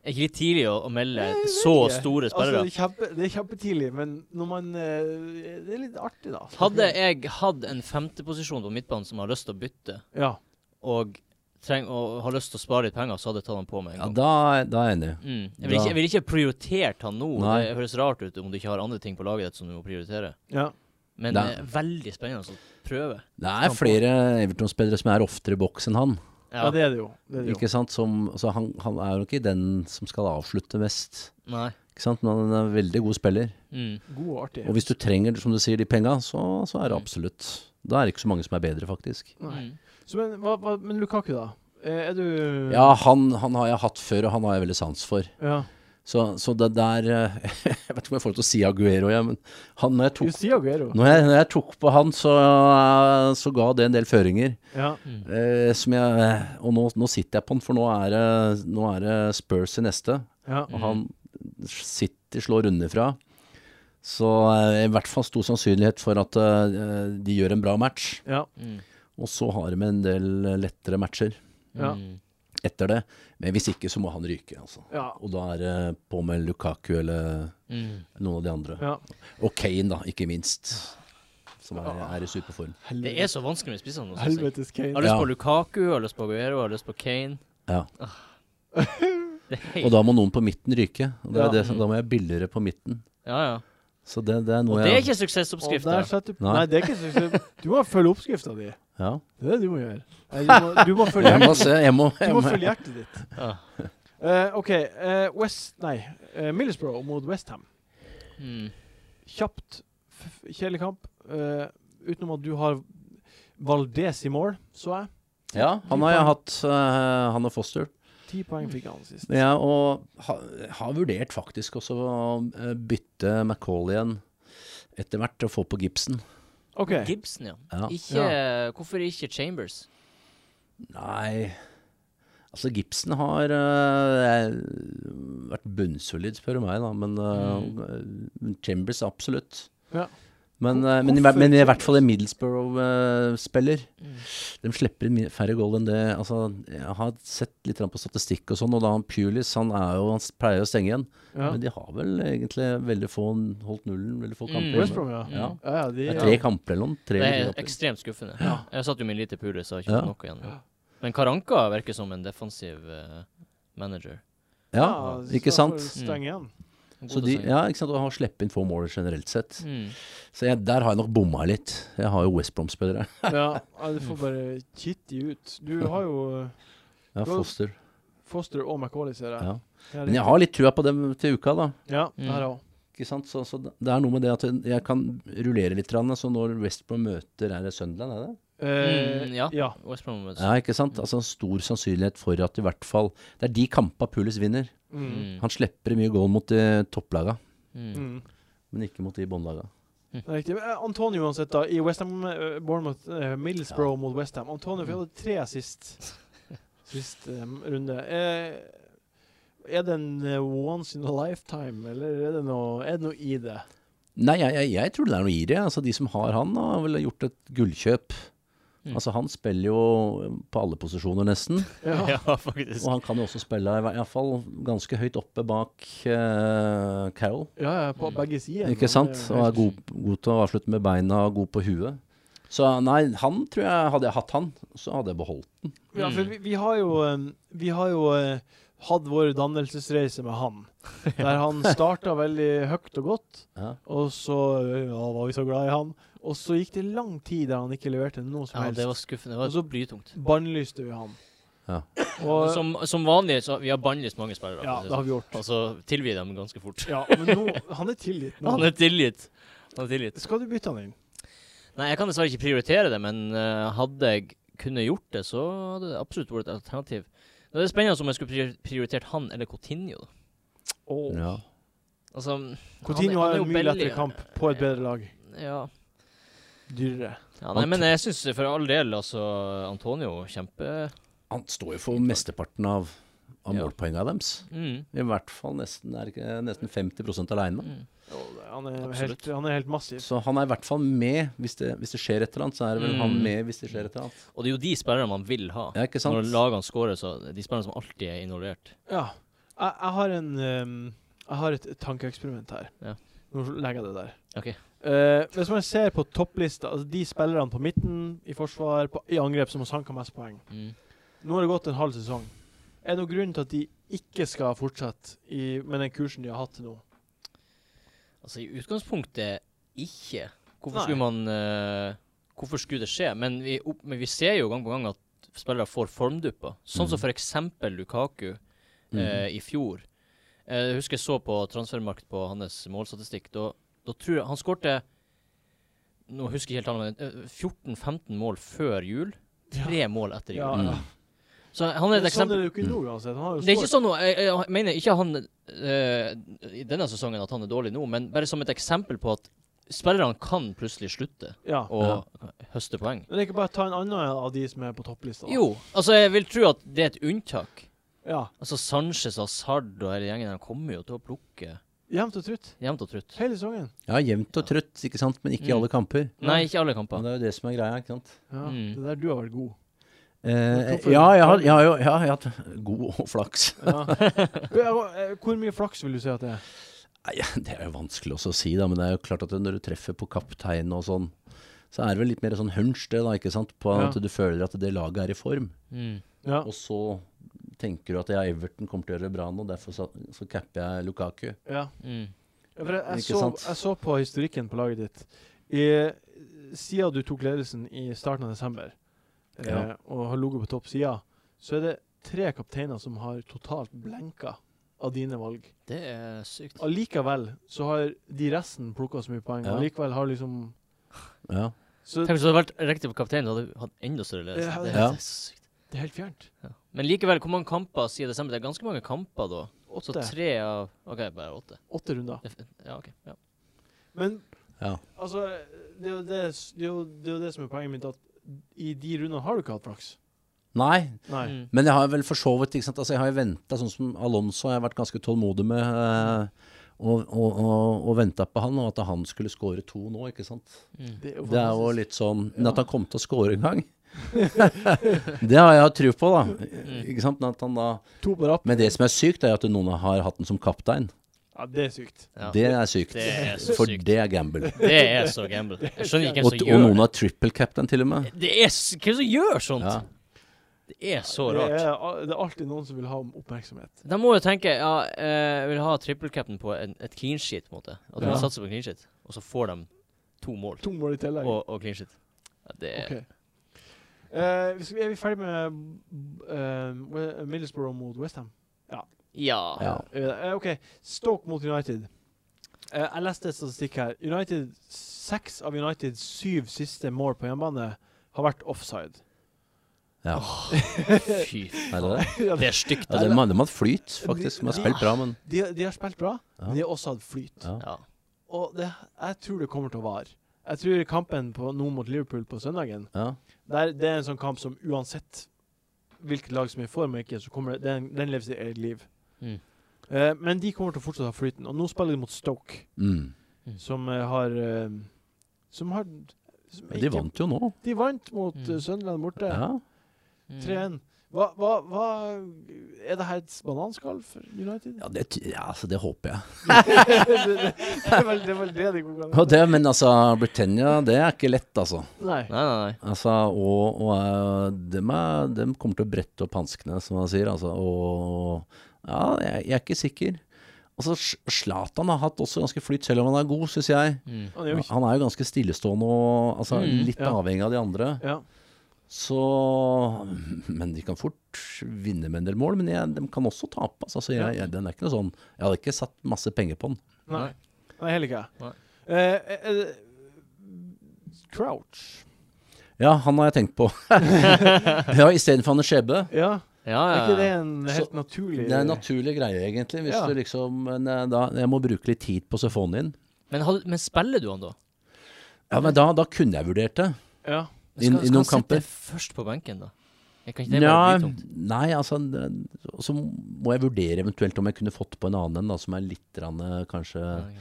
B: er ikke litt tidlig å, å melde
A: Nei, jeg vet
B: så
A: ikke.
B: store
A: Altså,
B: spillere.
A: det, er kjempe, det er kjempetidlig, men når man eh, Det er litt artig, da.
B: Hadde jeg hatt en femteposisjon på midtbanen som har lyst til å bytte,
A: Ja.
B: og, treng, og har lyst til å spare litt penger, så hadde jeg tatt han på med en
C: Ja,
B: gang.
C: da, da er jeg enig.
B: Mm. Jeg, vil ikke,
C: da-
B: jeg vil ikke prioritert han nå.
C: Nei.
B: Det høres rart ut om du ikke har andre ting på laget ditt som du må prioritere.
A: ja.
B: Men
C: Nei.
B: eh, veldig spennende å prøve.
C: Det er flere Everton-spillere som er oftere i boks enn han.
A: Ja, det er det jo. Det er det jo.
C: Ikke sant? Som, altså han, han er jo ikke den som skal avslutte mest.
B: Nei.
C: Ikke sant? Men han er en veldig god spiller.
B: Mm.
A: God og artig.
C: Og hvis du trenger som du sier, de penga, så, så er det absolutt Da er det ikke så mange som er bedre, faktisk.
A: Nei.
B: Mm.
A: Så, men, hva, hva, men Lukaku, da? Eh, Er du
C: Ja, han, han har jeg hatt før, og han har jeg veldig sans for.
A: Ja.
C: Så, så det der eh, [LAUGHS] Jeg vet ikke om jeg får lov til å si Aguero, jeg, men han, når, jeg
A: Du
C: tok,
A: sier Aguero.
C: når, jeg, når jeg tok på han, så, eh, så ga det en del føringer.
A: Ja.
C: Eh, som jeg, og nå, nå sitter jeg på han, for nå er, det, nå er det Spurs i neste.
A: ja.
C: Og han City slår underfra. Så eh, i hvert fall stor sannsynlighet for at eh, de gjør en bra match.
A: ja.
B: Mm.
C: Og så har de en del eh, lettere matcher
A: Ja.
B: Mm.
C: etter det. Men hvis ikke, så må han ryke, altså.
A: ja.
C: Og da er det på med Lukaku eller
B: Mm.
C: noen av de andre.
A: ja.
C: Og Kane, da, ikke minst. Som er, er i superform.
B: Det er så vanskelig med spissene. nå, synes jeg.
A: Helvetes Kane.
B: Jeg har lyst
C: Ja.
B: på Lukaku, jeg har lyst på Aguero, jeg har lyst på Kane.
C: Ja.
B: Det er helt,
C: Og da må noen på midten ryke. Og det
A: Ja.
C: er det, som- da må jeg billigere på midten.
B: ja, ja.
C: Så det, det er
B: Og
C: noe
B: det er
C: jeg
B: ikke
A: Og
B: suksessoppskrifta.
A: der setter du
C: Nei.
A: Nei, det er ikke så Du må følge oppskrifta di.
C: ja.
A: Det er det du må gjøre. Nei, Du må,
C: [LAUGHS]
A: du må følge
C: Jeg må
A: hjertet
C: se, jeg må,
A: Du
C: jeg
A: må
C: må,
A: følge hjertet ditt.
B: Ja.
A: Eh, OK. eh, West Nei. eh, Middlesbrough mot Westham.
B: Mm.
A: Kjapt, f- kjedelig kamp. Eh, utenom at du har Valdez i mål, så jeg.
C: Ja, han har jeg hatt, eh, han og Foster.
A: Ti poeng fikk han sist.
C: Men jeg og ha, har vurdert faktisk også å eh, bytte McCall igjen etter hvert og få på Gibson.
A: OK.
B: Gibson, ja.
C: Ja.
B: Ikke, Hvorfor ikke Chambers?
C: Nei Altså, Gibson har eh, vært bunnsolid, spør du meg, da. Men eh, Chambers, absolutt.
A: Mm. Ja.
C: Men,
A: Hvor-
C: eh, men, i,
A: hvorfor
C: hver- men i hvert
A: Chambers?
C: fall en Middlesbrough-spiller.
B: Mm.
C: De slipper inn mye færre goal enn det altså, Jeg har sett litt grann på statistikk og sånn, og da han Pulis han, er jo, han s- pleier å stenge igjen.
A: Ja.
C: Men de har vel egentlig veldig få holdt nullen, veldig få
B: Mm.
C: kamper.
A: West Brom, ja.
C: Ja.
A: Ja, ja, de,
C: Det er
A: ja.
C: tre kamper eller noe. Tre
B: Det
C: eller
B: er
C: fire kamper.
B: ekstremt skuffende.
C: Ja.
B: Jeg satt jo min lite pule, så jeg har ikke
C: Ja.
B: fått noe igjen. Men Karanka virker som en defensiv eh, manager.
C: Ja,
A: så da
C: ikke sant?
A: får
C: Mm.
A: du Stenge igjen.
B: En
C: Så
B: god
C: de,
B: design.
C: ja, ikke sant? Og har sluppet inn få mål generelt sett.
B: Mm.
C: Så jeg, der har jeg nok bomma litt. Jeg har jo West Brom-spillere.
A: Ja, ja, du får bare kitte de ut. Du har jo eh,
C: Ja, Foster.
A: Foster og McCauley, ser jeg.
C: Ja. Men jeg har litt trua på dem til uka, da.
A: Ja,
B: Mm.
A: der òg.
C: Ikke sant? Så, så det er noe med det at jeg kan rullere litt, grann, så når West Brom møter Er det Sunderland, er det?
A: Eh,
B: Mm, ja.
A: ja.
B: West Brom møtes.
C: Ja, ikke sant? Altså stor sannsynlighet for at i hvert fall Det er de kampa Pulis vinner.
A: Mm.
B: Mm.
C: Han slipper mye goal mot de topplaga,
B: Mm.
A: Mm.
C: men ikke mot de båndlaga.
A: Det er Riktig. Men, eh, Antonio uansett, da. I Westham uh, Bournemouth, eh, Middlesbrough
C: Ja.
A: mot Westham. Antonio vi hadde tre
C: [LAUGHS]
A: sist Sist eh, runde. Eh, er det en eh, once in a lifetime, eller er det noe, er det noe i det?
C: Nei, jeg, jeg, jeg tror det er noe i det. Altså, de som har han, har vel gjort et gullkjøp.
B: Mm.
C: Altså, han spiller jo på alle posisjoner,
B: [LAUGHS]
C: nesten.
A: Ja. [LAUGHS]
B: Ja, faktisk.
C: Og han kan jo også spille i hvert fall ganske høyt oppe bak eh, Carroll.
A: Ja, ja, på begge sider. eh,
C: Ikke sant?
B: eh,
C: Og er
A: Og
C: god, god til å avslutte med beina og god på huet. Så nei, han tror jeg Hadde jeg hatt han, så hadde jeg beholdt.
A: ja, for vi, vi har jo, eh, vi har jo eh, hatt vår dannelsesreise med
C: [LAUGHS]
A: han. Der han starta veldig høyt og godt.
C: Ja.
A: Og så ja, var vi så glad i han. Og så gikk det lang tid der han ikke leverte noe som
B: Ja,
A: helst.
B: det var skuffende. Det var
A: Og så-
B: blytungt.
A: Bannlyste vi han.
C: Ja.
A: Og,
B: Som, som vanlig, så vi har bannlyst mange spillere.
A: ja,
B: for å si
A: det har vi gjort.
B: sånn. Og så tilgir dem ganske fort.
A: Ja, men nå, han er tilgitt nå.
B: Han er tilgitt. Han er tilgitt.
A: Skal du bytte han inn?
B: Nei, jeg kan dessverre ikke prioritere det, men eh, hadde jeg kunne gjort det, så hadde det absolutt vært et alternativ. Det er spennende om jeg skulle prior- prioritert han eller Coutinho. da.
A: Oh.
C: Ja.
B: Altså,
A: Coutinho
B: han er- han
A: har
B: er
A: en
B: jo
A: mye
B: billig.
A: lettere kamp på et bedre lag.
B: ja.
A: Dyrere.
B: ja nei, men jeg syns for all del, altså, Antonio kjempe...
C: Han står jo for mesteparten av, av
B: Ja.
C: målpoengene deres.
B: Mm.
C: I hvert fall nesten, er ikke, nesten 50 aleine.
B: Mm.
A: Og det- Han er,
B: Absolutt.
A: helt, han er helt massiv.
C: Så han er i hvert fall med hvis det, hvis det skjer et eller annet. Så er det vel
B: Mm.
C: han med hvis det skjer et eller annet.
B: Og det er jo de spillerne man vil ha.
C: Ja, ikke
B: Når
C: sant?
B: lagene scorer, så De spillerne som alltid er involvert.
A: Ja. Jeg, jeg har en ehm, Jeg har et tankeeksperiment her.
B: Ja.
A: Nå legger jeg det der.
B: Ok.
A: Eh, hvis man ser på topplista, altså de spillerne på midten, i forsvar, på, i angrep, som har sanka mest poeng
B: Mm.
A: Nå har det gått en halv sesong. Er det noen grunn til at de ikke skal fortsette i, med den kursen de har hatt til nå?
B: Altså, i utgangspunktet ikke. Hvorfor
A: Nei.
B: skulle man eh, Hvorfor skulle det skje? Men vi, opp, men vi ser jo gang på gang at spillere får formdupper. Sånn som for eksempel Lukaku
C: Mm.
B: eh, i fjor. Eh, jeg husker jeg så på transfermarkt på hans målstatistikk. Da, da tror jeg han skårte Nå husker jeg ikke helt tallet, men eh, 14-15 mål før jul. Tre mål etter jul.
A: Ja,
C: Mm.
A: ja.
B: Så han er
A: Men
B: et
A: Sånn
B: eksempel
A: er det jo ikke nå uansett. Han har jo
B: det er ikke
A: skåret.
B: sånn nå, jeg, jeg mener ikke han eh, i denne sesongen at han er dårlig nå, men bare som et eksempel på at spillerne kan plutselig slutte
A: Ja.
B: å høste poeng.
A: Men det er ikke bare å ta en annen av de som er på topplista. da.
B: Jo, altså jeg vil tro at det er et unntak.
A: Ja.
B: Altså Sanchez og Hazard og hele gjengen der kommer jo til å plukke
A: Jevnt og trutt.
B: jevnt og trutt.
A: Hele sesongen.
C: Ja, jevnt og trøtt, ikke sant? Men ikke i
B: Mm.
C: alle kamper.
B: Nei, ikke alle
C: Men
B: kamper.
C: det er jo det som er greia, ikke sant?
A: Ja.
B: Mm.
A: Det er der du har vært
B: [LAUGHS]
A: god.
C: Eh,
A: hvorfor-
C: ja, jeg har, jeg har jo jeg har hatt god [LAUGHS] og flaks.
A: Ja. Eh, Hvor mye flaks vil du si at det er?
C: Nei, Det er jo vanskelig også å si, da, men det er jo klart at når du treffer på kapteinen og sånn, så er det vel litt mer sånn hunch, det, da, ikke sant? På
A: Ja.
C: at du føler at det laget er i form.
B: Mm.
A: Ja.
C: Og så tenker du at ja, Everton kommer til å gjøre det bra nå, derfor så, så capper jeg Lukaku.
A: ja.
B: Mm.
A: Ja, For jeg, jeg,
C: Ikke
A: så,
C: sant?
A: jeg så på historikken på laget ditt. I, siden du tok ledelsen i starten av desember eh,
C: Ja.
A: og har ligget på topp siden, så er det tre kapteiner som har totalt blenka av dine valg.
B: Det er sykt.
A: Allikevel så har de resten plukka så mye poeng.
C: Ja.
A: Allikevel har liksom
C: Ja.
A: Så
B: Tenk hvis det hadde vært riktig på kapteinen, hadde vi hatt enda større ledelse.
A: Ja.
B: Det er
C: Ja.
B: helt sykt.
A: det er helt fjernt.
B: Ja. Men likevel, hvor mange kamper sier desember? Det er ganske mange kamper da. Så
A: Åtte,
B: tre av OK, bare åtte.
A: åtte runder.
B: Det er f- Ja, OK. Ja.
A: Men
C: ja.
A: altså Det er jo det, s- det, er jo, det, er jo det som er poenget mitt, at i de rundene har du ikke hatt flaks.
C: Nei,
A: Nei.
B: Mm.
C: men jeg har vel for så vidt ikke sant? Altså, Jeg har jo venta, sånn som Alonso har jeg vært ganske tålmodig med. Eh, og og, og, og venta på han, og at han skulle score to nå, ikke sant.
B: Mm.
A: Det er
C: Det er jo
A: fantastisk.
C: litt sånn Men at han kom til å score en gang, [LAUGHS] det har jeg hatt tro på, da.
B: Mm.
C: Ikke sant? Men, at han da.
A: to på rappen.
C: men det som er sykt, er at noen har hatt den som kaptein.
A: Ja, det er sykt.
B: Ja.
C: Det er sykt.
B: Det er så
C: For
B: sykt.
C: det er gamble.
B: Det er så gamble. Jeg skjønner ikke hvem
C: Og, og
B: som gjør
C: noen har triple captain, til og med.
B: det. Det er s- Hvem som gjør sånt?
C: Ja.
B: Det er så
A: Det
B: rart.
A: er, al- det er alltid noen som vil ha oppmerksomhet.
B: De må jo tenke ja, eh, jeg vil ha trippelcap'n på en, et clean sheet, på en måte. At de
A: Ja.
B: satser på clean sheet, og så får de to mål
A: To mål i tillegg.
B: og, og clean sheet. Ja, det er
A: Ok. Eh, vi skal- er vi ferdig med eh, We- Middlesbrough mot Westham?
B: Ja.
C: Ja.
A: Eh, OK. Stoke mot United. Eh, jeg leste statistikk her. United, Seks av Uniteds syv siste mål på hjemmebane har vært offside. [LAUGHS]
C: ja.
B: Fy faen.
C: Er det det?
B: Det er stygt.
C: Ja, de har de har hatt flyt, faktisk. De har spilt bra, men
A: De, de har spilt bra,
C: Ja.
A: men de har også hatt flyt.
C: Ja.
B: altså. Ja.
A: Og det, jeg tror det kommer til å vare. Jeg tror kampen på, nå mot Liverpool på søndagen
C: ja.
A: der, Det er en sånn kamp som uansett hvilket lag som er i form og ikke, så kommer det, den, den lever sitt eget liv.
B: Mm.
A: Eh, men de kommer til å fortsette å ha flyten. Og nå spiller de mot Stoke,
C: Mm.
A: som eh, har eh, Som har som
C: Men de
A: ikke-
C: vant jo nå.
A: De vant mot
B: Mm.
A: eh, Sunderland borte.
C: Ja.
A: 3-1. Hva, hva, hva Er det her et bananskall for United?
C: Ja, det, ja, altså, det håper jeg.
A: [LAUGHS] det, det, det er vel det er vel det de går
C: Og det, men altså, Britannia, det er ikke lett, altså.
A: Nei.
B: Nei, nei, nei.
C: Altså, og, og eh, dem, er, dem kommer til å brette opp hanskene, som man sier. Altså, og ja, jeg, jeg er ikke sikker. Altså, Sj- Zlatan har hatt også ganske flyt, selv om han er god, syns jeg.
B: Mm.
A: Han er jo ikke
C: Han er jo ganske stillestående og altså,
B: Mm,
C: litt
A: ja.
C: avhengig av de andre.
A: Ja.
C: Så Men de kan fort vinne med en del mål, men jeg, de kan også tape. Altså, så jeg,
A: Ja.
C: jeg, den er ikke noe sånn Jeg hadde ikke satt masse penger på den.
A: Nei. Nei, heller ikke.
B: Nei.
A: Eh, eh, eh, Crouch.
C: Ja, han har jeg tenkt på. [LAUGHS] ja, Istedenfor Anne Skjebbe.
A: Ja,
B: Ja,
A: er ikke
B: ja,
A: det
B: ja.
A: en helt naturlig
C: Det er en naturlig greie, egentlig. Hvis
A: Ja.
C: du liksom, men eh, da, jeg må bruke litt tid på sefonen din.
B: Men, had- men spiller du han, da?
C: Ja, men da, da kunne jeg vurdert det.
A: Ja.
C: I- i noen
B: sitte
C: kamper.
B: først på benken, da? Jeg kan ikke det
C: Nja,
B: bare bli tungt?
C: nei, altså det- Så må jeg vurdere eventuelt om jeg kunne fått på en annen en da, som er litt grann, eh, kanskje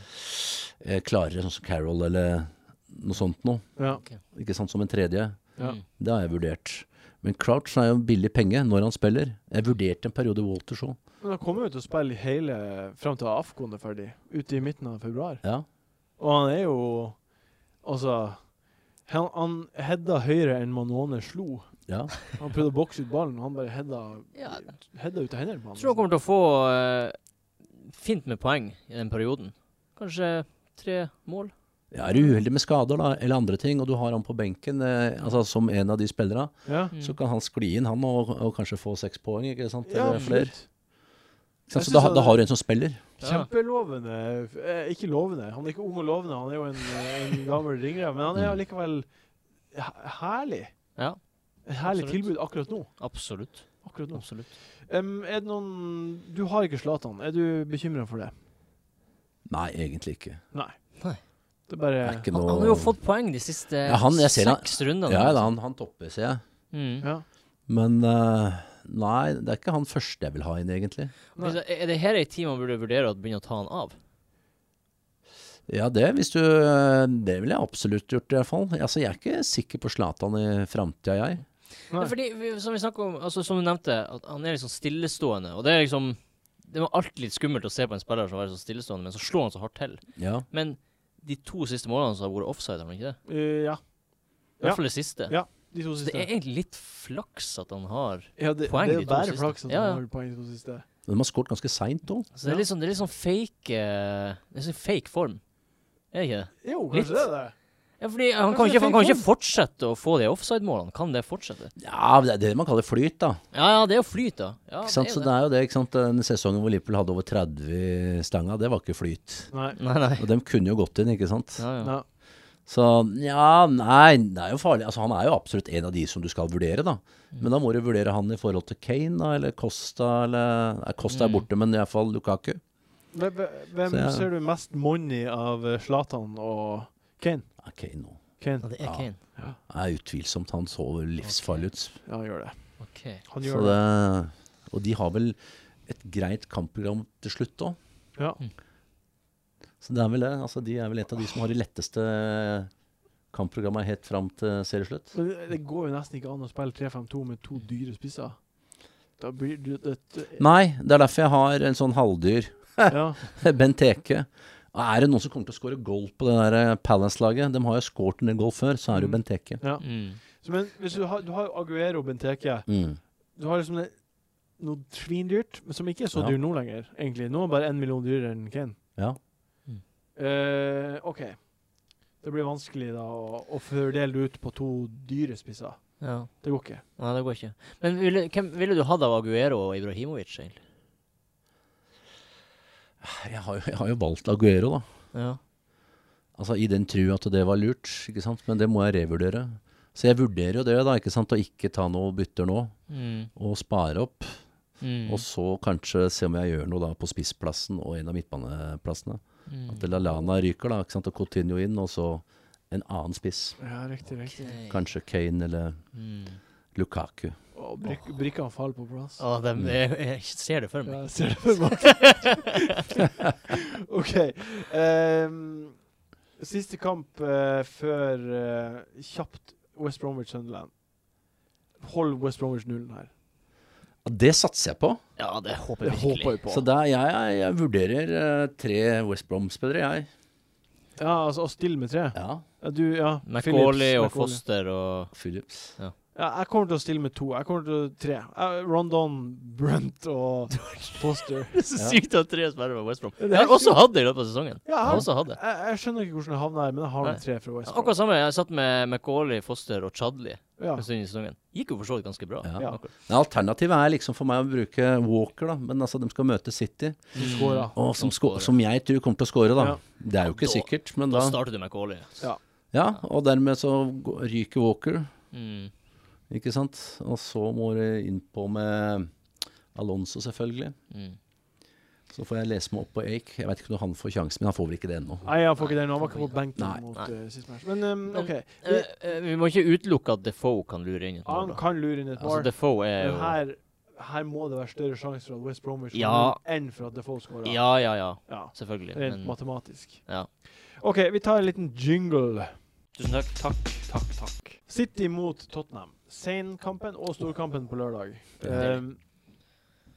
C: eh, klarere, sånn som Carol eller noe sånt noe.
A: ja.
C: Ikke sant, som en tredje.
A: Ja.
B: Mm.
C: Det har jeg vurdert. Men Crouch er jo en billig penge når han spiller. Jeg vurderte en periode Walters òg.
A: Men han kommer jo til å spille hele fram til Afcon er ferdig, ute i midten av februar.
C: Ja.
A: Og han er jo Altså Han, han heada høyere enn Manone slo.
C: ja.
A: Han prøvde å bokse ut ballen, og han bare heada,
B: Ja,
A: heada ut av hendene på
B: Jeg tror
A: han.
B: han kommer til å få eh, fint med poeng i den perioden. Kanskje tre mål?
C: Ja, er du uheldig med skader da, eller andre ting, og du har han på benken eh, altså, som en av de spillerne,
A: Ja.
B: Mm.
C: så kan han skli inn, han, og, og kanskje få seks poeng, ikke sant?
A: Ja,
C: Eller
A: absolutt.
C: flere. Ikke sant?
A: Jeg
C: Så da,
A: synes
C: da
A: han-
C: har du en som spiller.
B: Ja.
A: Kjempelovende. Eh, Ikke lovende. Han er ikke ung og lovende, han er jo en, en gammel ringrev, men han er jo likevel he- herlig.
B: Ja,
A: Et herlig
B: Absolutt.
A: tilbud akkurat nå.
B: absolutt.
A: Akkurat nå.
B: absolutt.
A: Em, er det noen Du har ikke Zlatan. Er du bekymra for det?
C: Nei, egentlig ikke.
A: Nei.
B: Nei.
A: Det er bare
C: Det er ikke
B: Han,
C: noe...
B: han har jo fått poeng de siste
C: Ja, han- jeg ser han-
B: seks rundene.
C: Ja, da, han, han topper, ser jeg.
B: Mm.
A: Ja.
C: Men eh, nei, det er ikke han første jeg vil ha inn, egentlig.
A: Nei.
B: Hvis- Er det her ei tid man burde vurdere å begynne å ta han av?
C: Ja, det, hvis du, eh, det ville jeg absolutt gjort, i hvert fall. Altså, jeg er ikke sikker på Zlatan i framtida, jeg.
A: Nei.
B: Ja, fordi, vi, som vi snakket om, altså som du nevnte, at han er liksom stillestående. Og det er liksom Det var alltid litt skummelt å se på en spiller som er så stillestående, men så slår han så hardt til.
C: Ja.
B: Men de to siste målene så har vært offside, har han ikke det?
A: Eh, ja.
B: I hvert
A: Ja.
B: fall det siste.
A: Ja, de to
B: Så det
A: siste.
B: er egentlig litt flaks at han har
A: ja, det,
B: poeng
A: det er
B: de
A: jo
B: to
A: bare
B: siste.
A: flaks at
B: Ja,
A: han
B: ja.
A: har poeng de to siste.
C: Men de har skåret ganske seint òg.
B: Så det er litt sånn, det er litt sånn fake eh, Det er sånn fake form. Er det ikke det?
A: Jo,
B: Litt.
A: kanskje det er det.
B: Ja, fordi eh, han
A: Kanskje
B: kan,
A: det er
B: ikke, han kan
A: fake
B: ikke fortsette å få de offside-målene. Kan det fortsette?
C: Ja, det er det man kaller flyt, da.
B: Ja, ja, det er jo flyt, da. Ja,
C: Ikke sant? Så det
B: det.
C: er jo det, ikke sant? Den sesongen hvor Liverpool hadde over 30 i stanga, det var ikke flyt.
A: Nei.
B: Nei, nei.
C: Og dem kunne jo gått inn, ikke sant.
B: Ja, ja.
A: Nei.
C: Så ja, nei, det er jo farlig. Altså, han er jo absolutt en av de som du skal vurdere, da. Men da må du vurdere han i forhold til Kane, da, eller Costa, eller Nei, Costa er borte, men iallfall Lukaku.
A: Hvem- Hvem
C: Så, ja.
A: ser du mest money av eh, Zlatan og Kane?
C: Ja, Kane nå.
B: Ja,
A: Kane.
B: det er Kane.
C: er utvilsomt han så livsfarlig ut.
A: Ja, han gjør det.
B: OK.
A: Han
C: Så
A: gjør det.
C: det, og de har vel et greit kampprogram til slutt òg.
A: Ja.
C: Så det er vel det. Altså, de er vel et av de som har de letteste kampprogramma helt fram til serieslutt.
A: Men det- det går jo nesten ikke an å spille 3-5-2 med to dyre spisser. Da blir det
B: [LAUGHS]
A: et
C: Nei, det er derfor jeg har en sånn halvdyr. [LAUGHS]
A: Ja.
C: Bent Eke. Og Er det noen som kommer til å skåre goal på det der eh, Palace-laget? De har jo skåret en del goal før, så er det jo
A: Mm.
C: Bent Eke.
A: ja.
B: Mm.
A: Så, men hvis du har, du har jo Aguero Benteke.
C: Mm.
A: Du har liksom det, noe svindyrt, men som ikke er så
C: Ja.
A: dyr nå lenger, egentlig. Nå er det bare én million dyrere enn Kane.
C: Ja.
B: Mm.
A: Eh, OK. Det blir vanskelig da å, å fordele det ut på to dyre spisser.
B: Ja.
A: Det går ikke.
B: Nei, det går ikke. Men ville, hvem ville du hatt av Aguero og Ibrahimovic, egentlig?
C: Jeg, har, jo- jeg har jo valgt Aguero, da.
B: Ja.
C: Altså I den tru at det var lurt, ikke sant? men det må jeg revurdere. Så jeg vurderer jo det, da, ikke sant? å ikke ta noe bytter nå,
B: Mm.
C: og spare opp.
B: Mm.
C: Og så kanskje se om jeg gjør noe da på spissplassen og en av midtbaneplassene.
B: Mm.
C: At Lallana ryker, da, ikke sant? og Coutinho inn, og så en annen spiss.
A: Ja, riktig, riktig.
B: Ok.
C: Kanskje Kane eller
B: Mm.
C: Lukaku.
A: Og brik, brikkene faller på plass.
B: Å, dem-
C: Mm.
B: jeg, jeg ser det for meg.
A: Ja, jeg ser det for meg. [LAUGHS] OK. ehm, siste kamp eh, før eh, kjapt West Bromwich Sunderland. Hold West Bromwich nullen her.
C: Ja, Det satser jeg på.
B: Ja, det håper
A: Det
B: jeg virkelig.
A: håper vi på.
C: Så der, jeg, jeg, jeg vurderer eh, tre West Broms-spillere, jeg.
A: Ja, altså å stille med tre.
C: Ja,
A: Ja, du, ja.
B: McAuley
A: Phillips,
B: og
A: McAuley.
B: Foster og
C: Phillips.
A: Ja, jeg kommer til å stille med to. Jeg kommer til å tre. Eh, Rondon, Brent
B: [LAUGHS]
A: og Foster.
B: Det er så
C: Ja.
B: sykt at tre spiller med West Brom.
A: Det er
B: Jeg har
A: helt
B: også hatt det i løpet av sesongen.
A: Ja,
B: Jeg har
A: jeg,
B: også hatt det.
A: jeg, jeg skjønner ikke hvordan jeg havna her, men jeg har
B: Nei.
A: de tre fra West Brom.
B: Akkurat samme. Jeg satt med McAuley, Foster og Chadley
A: Ja.
B: en stund i sesongen. Gikk jo for så vidt ganske bra.
C: Ja.
A: Ja.
B: Akkurat.
C: Nei, Alternativet er liksom for meg å bruke Walker, da. Men altså, de skal møte City.
A: Du skåra.
C: Og som,
B: Som
C: sko-
B: scorer.
C: som jeg tror kommer til å score,
A: Ja.
C: da. Det er jo ikke
B: Da-
C: sikkert, men
B: Da
C: da
B: starter du McAuley.
C: Ja, og dermed så gå- ryker Walker,
B: Mm.
C: ikke sant. Og så må det innpå med Alonso, selvfølgelig.
B: Mm.
C: Så får jeg lese meg opp på Ake. Jeg veit ikke når han får sjansen, men han får vel ikke det ennå.
A: Nei, han får ikke den. Han var ikke på benken
C: Nei.
A: mot
B: Nei.
A: eh, sist match. Men ehm,
B: Men-
A: OK.
B: Eh, eh, vi må ikke utelukke at Defoe kan lure inn et mål.
A: Han
B: da.
A: kan lure inn et
B: Altså,
A: mål,
B: Defoe er
A: men
B: jo
A: her, her må det være større sjanse for at West Bromwich får
B: Ja.
A: null enn for at Defoe skårer.
B: Ja, ja, ja.
A: Ja,
B: Selvfølgelig.
A: Rent
B: Men
A: matematisk.
B: Ja.
A: OK, vi tar en liten jingle.
B: tusen takk. Takk, takk, takk.
A: City mot Tottenham. Seinkampen og storkampen på lørdag.
C: Ja.
A: Ehm,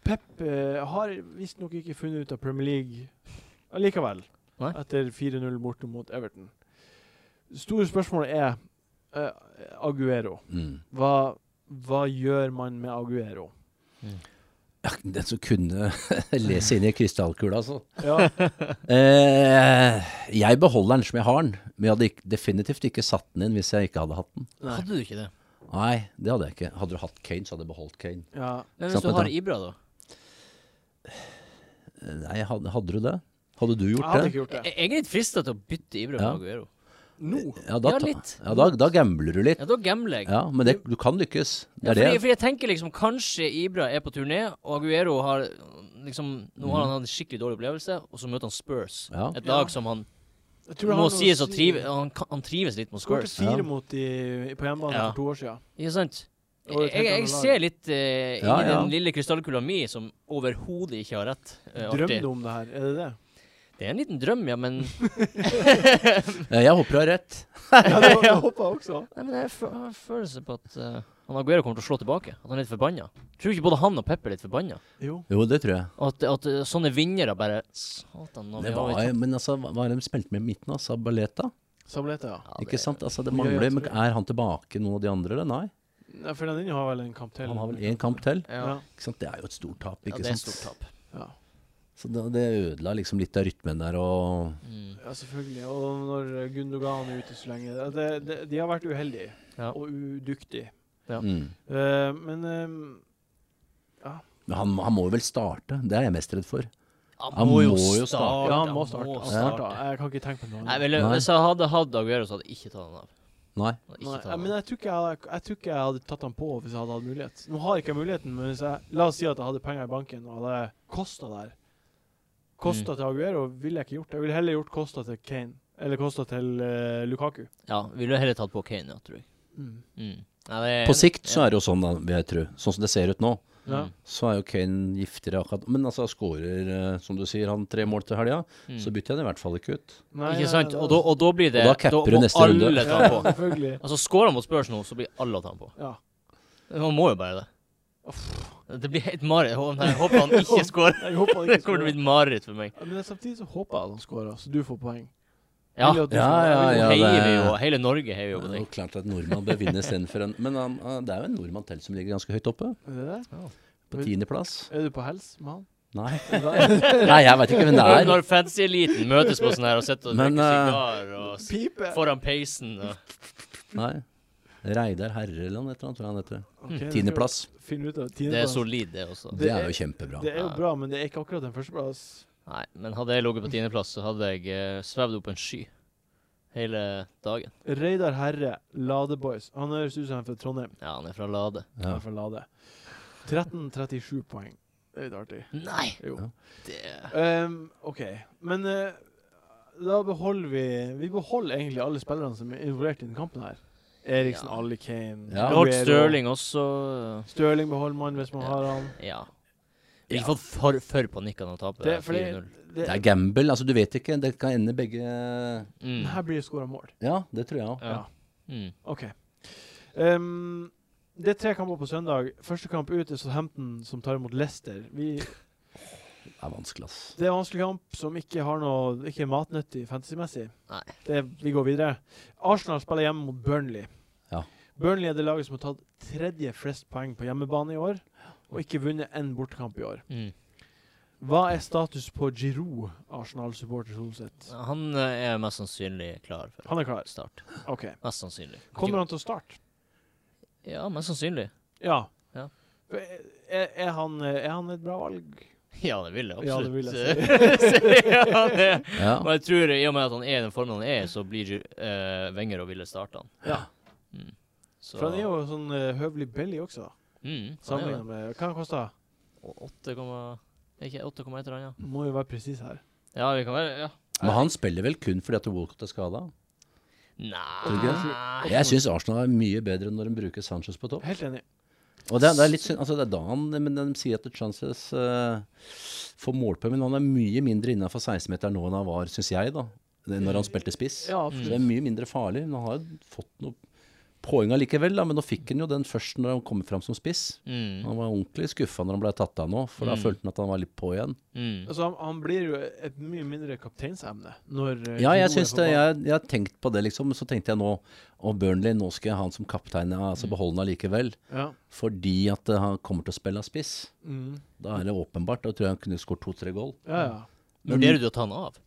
A: Pep eh, har visstnok ikke funnet ut av Premier League allikevel,
B: Nei.
A: etter 4-0 borte mot Everton. Store spørsmålet er eh, Aguero.
C: Mm.
A: Hva, hva gjør man med Aguero?
C: Ja, [LAUGHS] den som kunne lese inn i krystallkula, altså.
A: Ja,
C: Eh, Jeg beholder den som jeg har den, men jeg hadde ikk- definitivt ikke satt den inn hvis jeg ikke hadde hatt den.
B: Hadde du ikke det?
C: Nei, det hadde jeg ikke. Hadde du hatt Kane, så hadde jeg beholdt Kane.
A: [LAUGHS] Ja.
B: Men
C: Slapp
B: hvis du
C: av,
B: har
C: da.
B: Ibra, da?
C: Eh, Nei, hadde, hadde du det? Hadde du
A: Jeg
C: gjort
A: hadde
C: det?
A: ikke gjort det.
B: Jeg jeg er litt frista til å bytte Ibra
C: Ja.
B: med Aguero. Eh, Nå?
C: Ja, da,
B: ja,
C: ta-
B: litt.
C: ja, da, da gambler du litt.
B: Ja, da gambler jeg.
C: Ja, men det, du kan lykkes. Det er det.
B: fordi, fordi jeg tenker liksom kanskje Ibra er på turné, og Aguero har liksom Nå
C: Mhm.
B: har han hatt en skikkelig dårlig opplevelse, og så møter han Spurs.
C: Ja.
B: Et
A: Ja.
B: lag som han
A: Jeg tror han
B: må
A: har
B: sies å
A: si-
B: trive han, kan- han trives litt mot
A: Skåret
B: Spurs.
A: fire
C: Ja.
A: mot de på hjemmebane
B: Ja.
A: for to år siden.
B: Ikke sant?
A: Det var jo et helt
B: Jeg, jeg, jeg
A: annet lag.
B: ser litt eh,
C: Ja,
B: inni
C: ja.
B: den lille krystallkula mi som overhodet ikke har rett. eh,
A: Drøm
B: alltid.
A: du om det her? Er det det?
B: det er en liten drøm, ja, men
C: Eh, Jeg håper du har rett.
A: Ja, det var, jeg håpa også.
B: Nei, men jeg fø- har en følelse på at eh, han Aguero kommer til å slå tilbake. At han er litt forbanna. Tror ikke både han og Pepper er litt forbanna?
A: Jo.
C: Jo, det tror jeg.
B: At, at eh, sånne vinnere bare Satan, nå
C: Det
B: har
C: var,
B: vi tatt-
C: men altså, hva hva er det de spilte med i midten? Altså, Baleta?
A: Sablete, ja.
B: Ja,
C: Ikke
B: det-
C: sant? Altså, det
A: Ja, jeg
C: mangler, men
A: tror-
C: Er han tilbake, noen av de andre? Eller? Nei,
A: Nei, Fernandinho har vel en kamp til.
C: han har vel én kamp til.
B: Ja,
A: Ja.
C: Ikke sant? Det er jo et stort tap.
B: ja
C: Ikke
B: det er et
C: sant?
B: stort tap.
A: Ja.
C: Så det, det ødela liksom litt av rytmen der. Og
B: Mm.
A: ja, selvfølgelig. Og når Gundogan er ute så lenge det, det, det, De har vært uheldige
B: Ja.
A: og udyktige.
B: Ja.
C: mm.
A: Eh, men ehm,
C: Men han, han må jo vel starte? Det er jeg mest redd for. Han må jo
A: ja, han må starte.
B: må
A: Han
B: starte.
A: starta. Jeg kan ikke tenke på noe
B: Nei,
A: annet.
B: vel,
C: Nei.
B: Hvis jeg hadde hatt Aguero, så hadde jeg ikke tatt han av.
C: Nei.
B: Hadde
A: Nei,
B: Ikke tatt
A: jeg-
B: han
A: men
B: av.
A: jeg tror, ikke jeg, hadde- jeg tror ikke jeg hadde tatt han på hvis jeg hadde hatt mulighet. Nå har ikke jeg muligheten, men hvis jeg, la oss si at jeg hadde penger i banken og hadde Kosta der.
B: Mm.
A: Kosta til Aguero ville jeg ikke gjort. Jeg ville heller gjort Kosta til Kane. Eller Kosta til eh, Lukaku.
B: Ja, ville heller tatt på Kane, ja, tror jeg. Mm. Nei, det er-
C: På sikt så er det jo sånn, da, vil jeg tro. Sånn som det ser ut nå,
A: Ja.
B: Mm.
C: så er jo Kane giftigere akkurat Men altså, skårer, eh, som du sier, han tre mål til helga,
B: Mm.
C: så bytter jeg den i hvert fall ikke ut.
A: Nei, nei,
B: Ikke sant?
A: nei,
B: Og da, og da blir det
C: Og da capper du
B: må
C: neste
B: alle
C: runde.
B: ta han
A: ja, [LAUGHS]
B: på.
A: selvfølgelig.
B: Altså, Skårer han mot Spurs nå, så blir alle å ta han på.
A: Ja.
B: Man må jo bare det. Det blir helt mareritt. Hå- nei, Jeg håper han
A: [LAUGHS]
B: ikke scorer.
A: Jeg håper han
B: [LAUGHS] Det
A: ikke
B: kommer til å bli
A: skårer.
B: et mareritt for meg.
A: Ja, Men samtidig så håper jeg at han skårer, så du får poeng.
B: Ja,
A: Vil jo at du
C: Ja,
A: får-
C: ja,
A: jeg vil jo-
C: ja.
B: heier
C: det-
B: vi jo. Hele Norge heier jo
C: Det
B: på
C: er jo
B: deg.
C: klart at nordmann bør vinne istedenfor en Men han, han- det er jo en nordmann til som ligger ganske høyt oppe.
A: Er det
C: På tiendeplass.
A: det? Er du på hels med han?
C: Nei. [LAUGHS] Nei, jeg veit ikke hvem det
B: Når,
C: er.
B: [LAUGHS] når fancy-eliten møtes på sånn her og sitter og
C: Men,
B: drikker
C: eh,
B: sigar og s-
A: Pipe!
B: foran peisen og
C: Nei. Reidar Herreland, et eller annet, tror jeg han heter.
A: Ok, det skal vi
C: Tiendeplass.
A: finne ut av.
B: Det er
A: Tiendeplass.
B: solid, det også.
A: Det
C: Det er
A: er-
C: jo kjempebra.
A: Det er jo
B: Ja.
A: bra, men det er ikke akkurat en førsteplass.
B: Nei, men hadde jeg ligget på tiendeplass, så hadde jeg eh, svevd opp en sky hele dagen.
A: Reidar Herre, Lade Boys. Han høres ut som han er fra Trondheim.
B: Ja, han er fra Lade.
A: Han
C: Ja.
A: er fra Lade. 1337 poeng. Det er litt artig.
B: Nei!
A: Jo.
C: Ja.
B: Det
A: Ehm, OK. Men eh, da beholder vi Vi beholder egentlig alle spillerne som er involvert i den kampen her. Eriksen,
B: Ja.
A: Ali Kane
C: Ja.
B: Vi
A: Aguero.
B: holdt Stirling også. eh,
A: Stirling beholder man hvis man har han.
B: Ja. Vi har fått for, for panikk av å tape
A: Det er fordi
B: 4-0.
A: det,
C: Det er gamble. Altså, du vet ikke. Det kan ende begge
B: Mm.
A: Her blir det skåra mål.
C: Ja, det tror jeg òg.
B: Ja. Mm.
A: OK. Ehm, det er tre kamper på søndag. Første kamp ut er Southampton, som tar imot Leicester. Vi
C: Det er vanskelig, ass.
A: Det er en vanskelig kamp som ikke har noe Ikke er matnyttig fantasymessig.
B: Nei.
A: Det, vi går videre. Arsenal spiller hjemme mot Burnley.
C: Ja.
A: Burnley er det laget som har tatt tredje flest poeng på hjemmebane i år, og ikke vunnet én bortekamp i år.
B: Mm.
A: Hva er status på Giroud, Arsenal-supporter Solseth?
B: Han eh, er mest sannsynlig klar for
A: Han er klar.
B: start.
A: OK.
B: Mest sannsynlig.
A: Kommer han til å starte?
B: Ja, mest sannsynlig.
A: Ja.
B: Ja.
A: Er, er, han, er han et bra valg?
B: Ja, det vil jeg
A: Ja, det
B: absolutt.
A: vil jeg
B: [LAUGHS] ja, det.
C: Ja.
B: Men jeg tror i og med at han er i den formen han er, så blir uh, Wenger og ville starte han.
A: Ja.
B: Mm. Så
A: For han er jo sånn eh, høvelig billig også,
B: mm, han er jo
A: sammenlignet med Hva han koster han?
B: det. 8,1 Ikke 8,1 eller annet.
A: Må jo være presis her.
B: Ja, vi kan være Ja.
C: Men han spiller vel kun fordi at Walcott er skada? Tror du ikke
B: Nei
C: Jeg syns Arsenal er mye bedre når de bruker Sanchez på topp.
A: Helt enig.
C: Og det, er- det er litt synd, altså det er da han Men de sier at Sanchez eh, får målpoeng, men han er mye mindre innafor 16-meteren nå enn han var, syns jeg, da. det- Når han spilte spiss.
A: Ja,
C: Så
A: absolutt.
C: det er mye mindre farlig. Men han har jo fått noe poeng allikevel, da. Men nå fikk han jo den først når han kom fram som spiss.
B: Mm.
C: Han var ordentlig skuffa når han ble tatt av nå, for da
B: Mm.
C: følte han at han var litt på igjen.
B: Mm.
A: Altså, han, han blir jo et mye mindre kapteinsemne når eh,
C: Ja,
A: Giroud
C: jeg
A: er
C: syns
A: på
C: det.
A: banen.
C: Jeg, jeg har tenkt på det, liksom. men Så tenkte jeg nå Og Burnley, nå skal jeg ha han som kaptein, ja,
A: Mm.
C: altså beholde han allikevel.
A: Ja.
C: Fordi at eh, han kommer til å spille spiss.
A: Mm.
C: Da er det åpenbart. Da tror jeg han kunne skåret to-tre goal.
A: ja, ja.
B: Vurderer du å ta han av?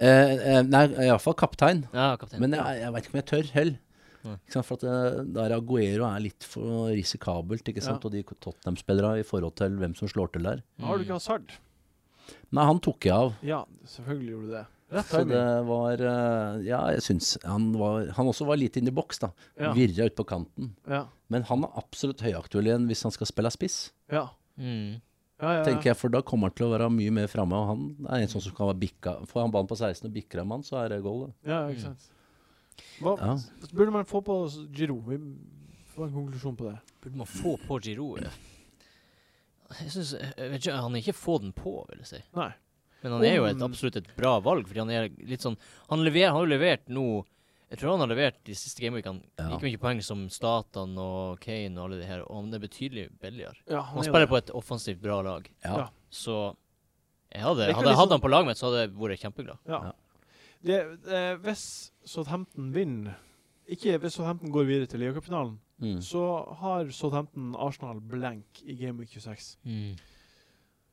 C: Eh, eh, nei, iallfall kaptein.
B: Ja, kaptein.
C: Men jeg, jeg veit ikke om jeg tør heller.
B: Nei.
C: Ikke sant? For at eh, der Aguero er litt for risikabelt, ikke sant?
A: Ja.
C: og de Tottenham-spillerne i forhold til hvem som slår til der.
A: Har du ikke hasard?
C: Nei, han tok jeg av.
A: Ja, selvfølgelig gjorde du det. Rett
C: Så det
A: timing.
C: var eh, Ja, jeg syns han var Han også var litt inn i boks, da.
A: Ja.
C: Virra ut på kanten.
A: Ja.
C: Men han er absolutt høyaktuell igjen hvis han skal spille spiss,
A: Ja.
B: Mm.
A: Ja, ja, ja.
C: tenker jeg. For da kommer han til å være mye mer framme. Og han er en sånn som kan være bikka Får han ballen på 16 og bikker en mann, så er det goal. Det.
A: ja ikke sant. Hva
C: Mm. Ja.
A: burde man få på Giro? Vi får en konklusjon på det.
B: Burde man få på Giroud? Jeg synes, jeg vet ikke, Han er ikke få den på, vil jeg si.
A: Nei.
B: Men han er jo et,
A: Om-
B: absolutt et bra valg, fordi han er litt sånn Han, lever, han har jo levert nå Jeg tror han har levert de siste gameweekene
C: Ja.
B: like mye poeng som Statan og Kane og alle de her, og han er betydelig billigere.
A: Ja,
B: Han spiller på et offensivt bra lag,
C: Ja.
A: Ja.
B: så jeg hadde,
A: Det er ikke
B: hadde jeg
A: liksom-
B: hatt han på laget mitt, så hadde jeg vært kjempeglad.
A: Ja. Det, eh, hvis Southampton vinner Ikke hvis Southampton går videre til ligacupen,
C: Mm.
A: så har Southampton Arsenal blank i Game Week 26.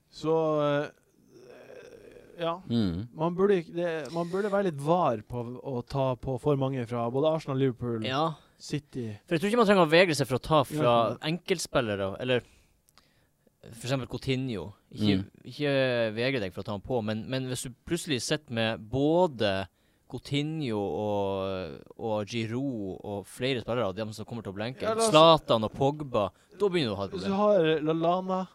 A: Så eh, Ja.
C: Mm.
A: Man burde, ikke- det, man burde være litt var på å ta på for mange fra både Arsenal, Liverpool,
B: Ja,
A: City
B: for jeg tror ikke man trenger å vegre seg for å ta fra
A: Ja.
B: enkeltspillere, eller for eksempel Coutinho. Ikke, ikke vegre deg for å ta han på, men, men hvis du plutselig sitter med både Coutinho og, og Giroud og flere spillere av dem som kommer til å blenke,
A: Ja, la oss-
B: Zlatan og Pogba, da begynner du å ha et
A: Så
B: problem.
A: har Lallana,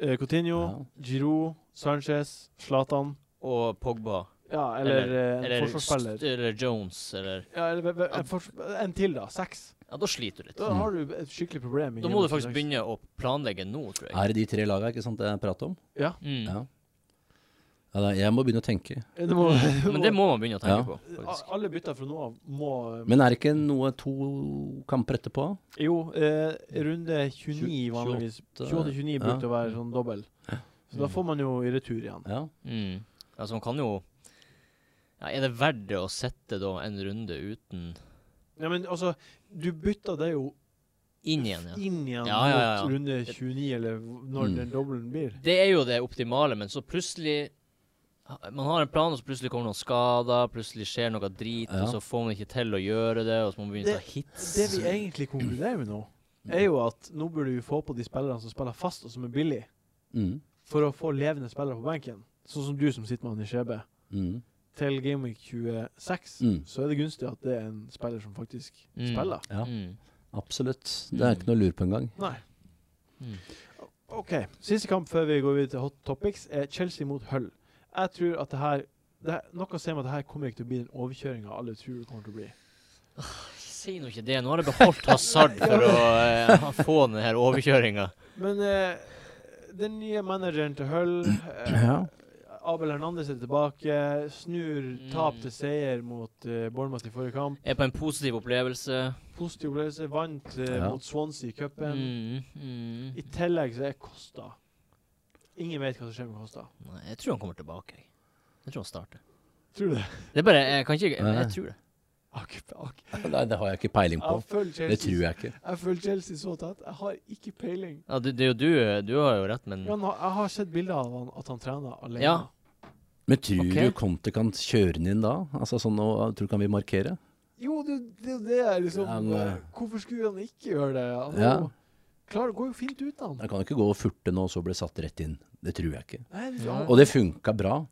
A: eh, Coutinho,
C: Ja.
A: Giroud, Sanchez, Zlatan
B: Og Pogba,
A: Ja, eller, eh, en
B: eller,
A: forsvarsspiller.
B: St- eller Jones, eller
A: Ja, eller, ve- ve- en, fors- en til, da. Seks.
B: Ja, da sliter du litt.
A: Da
C: Mm.
A: har du et skikkelig problem. i
B: Da må du
A: Game
B: faktisk
A: Week 26.
B: begynne å planlegge nå, tror jeg.
C: Er det de tre laga ikke sant, jeg prater om?
B: Mm.
C: Ja. Ja, da, jeg må begynne å tenke.
A: [LAUGHS] Eh, Du må,
B: [LAUGHS]
A: du
B: Men det må man begynne å tenke
C: Ja.
B: på,
A: A-
B: faktisk.
A: Alle bytter fra nå av må
C: Men er det ikke noe to kamper etterpå?
A: Jo, eh, runde 29
C: Tjue-
A: vanligvis.
B: eh,
C: 28,
A: 28-29
C: ja.
A: brukte å være sånn dobbel. Så da
B: Mm.
A: får man jo i retur igjen.
C: Ja.
B: Mm. Altså, man kan jo ja, Er det verdt det å sette da en runde uten
A: Ja, men altså, du bytter det jo
B: inn igjen? ja.
A: inn igjen
B: Ja, ja, ja.
A: mot runde 29, eller v- når
C: Mm.
A: den dobbelen blir.
B: Det er jo det optimale, men så plutselig ha- Man har en plan, og så plutselig kommer noen skader, plutselig skjer noe drit,
C: Ja.
B: og så får man ikke til å gjøre det, og så må man begynne å ta hits.
A: Det vi egentlig konkluderer med nå,
B: Mm.
A: er jo at nå burde vi få på de spillerne som spiller fast, og som er billige,
C: Mm.
A: for å få levende spillere på benken. Sånn som du som sitter med han i skjebne.
C: Mm.
A: Til Gameweek 26
C: Mm.
A: så er det gunstig at det er en spiller som faktisk
B: Mm.
A: spiller.
C: Ja,
B: Mm.
C: absolutt. Det er ikke noe lur på engang.
A: Nei.
C: Hmm.
B: Mm.
A: OK. Siste kamp før vi går videre til hot topics, er Chelsea mot Hull. Jeg tror at det her det, her- Noe ser meg at det her kommer ikke til å bli den overkjøringa alle tror det kommer til å bli.
B: Si nå ikke det. Nå har jeg beholdt Hazard for å eh, få den her overkjøringa.
A: Men eh, den nye manageren til Hull, eh,
C: Ja.
A: Abel Hernandez er tilbake, snur tap
B: Mm.
A: til seier mot eh, Bournemouth i forrige kamp.
B: Er på en positiv opplevelse.
A: Positiv opplevelse, vant eh,
C: Ja. Hmm.
A: mot Swansea i cupen.
B: Mm. Mm.
A: I tillegg så er Costa Ingen vet hva som skjer med Costa.
B: Nei, jeg tror han kommer tilbake. jeg. Jeg tror han starter.
A: Tror du det? [LAUGHS]
B: Det er bare Jeg kan ikke Jeg,
C: Nei.
B: jeg tror det.
A: Ak, ak.
C: [LAUGHS] Nei, det har jeg ikke peiling på.
A: Jeg følger
C: Det
A: Chelsea,
C: tror jeg ikke.
A: jeg følger Chelsea så tett. Jeg har ikke peiling.
B: Ja, det, det er jo du eh, Du har jo rett, men
A: Men han, jeg har sett bilder av han, at han trener alene.
B: Ja.
C: Men tror
B: Ok.
C: du Conte kan kjøre den inn da? Altså sånn, og, tror du kan vi markere?
A: Jo, det det er jo det jeg liksom
C: Ja, men-
A: eh, Hvorfor skulle han ikke gjøre det? Han er
C: Ja.
A: jo- klar, det går jo fint uten han.
C: Han kan ikke gå og furte nå og så bli satt rett inn. Det tror jeg ikke.
A: Nei, det,
B: Ja.
A: han-
C: Og det funka bra.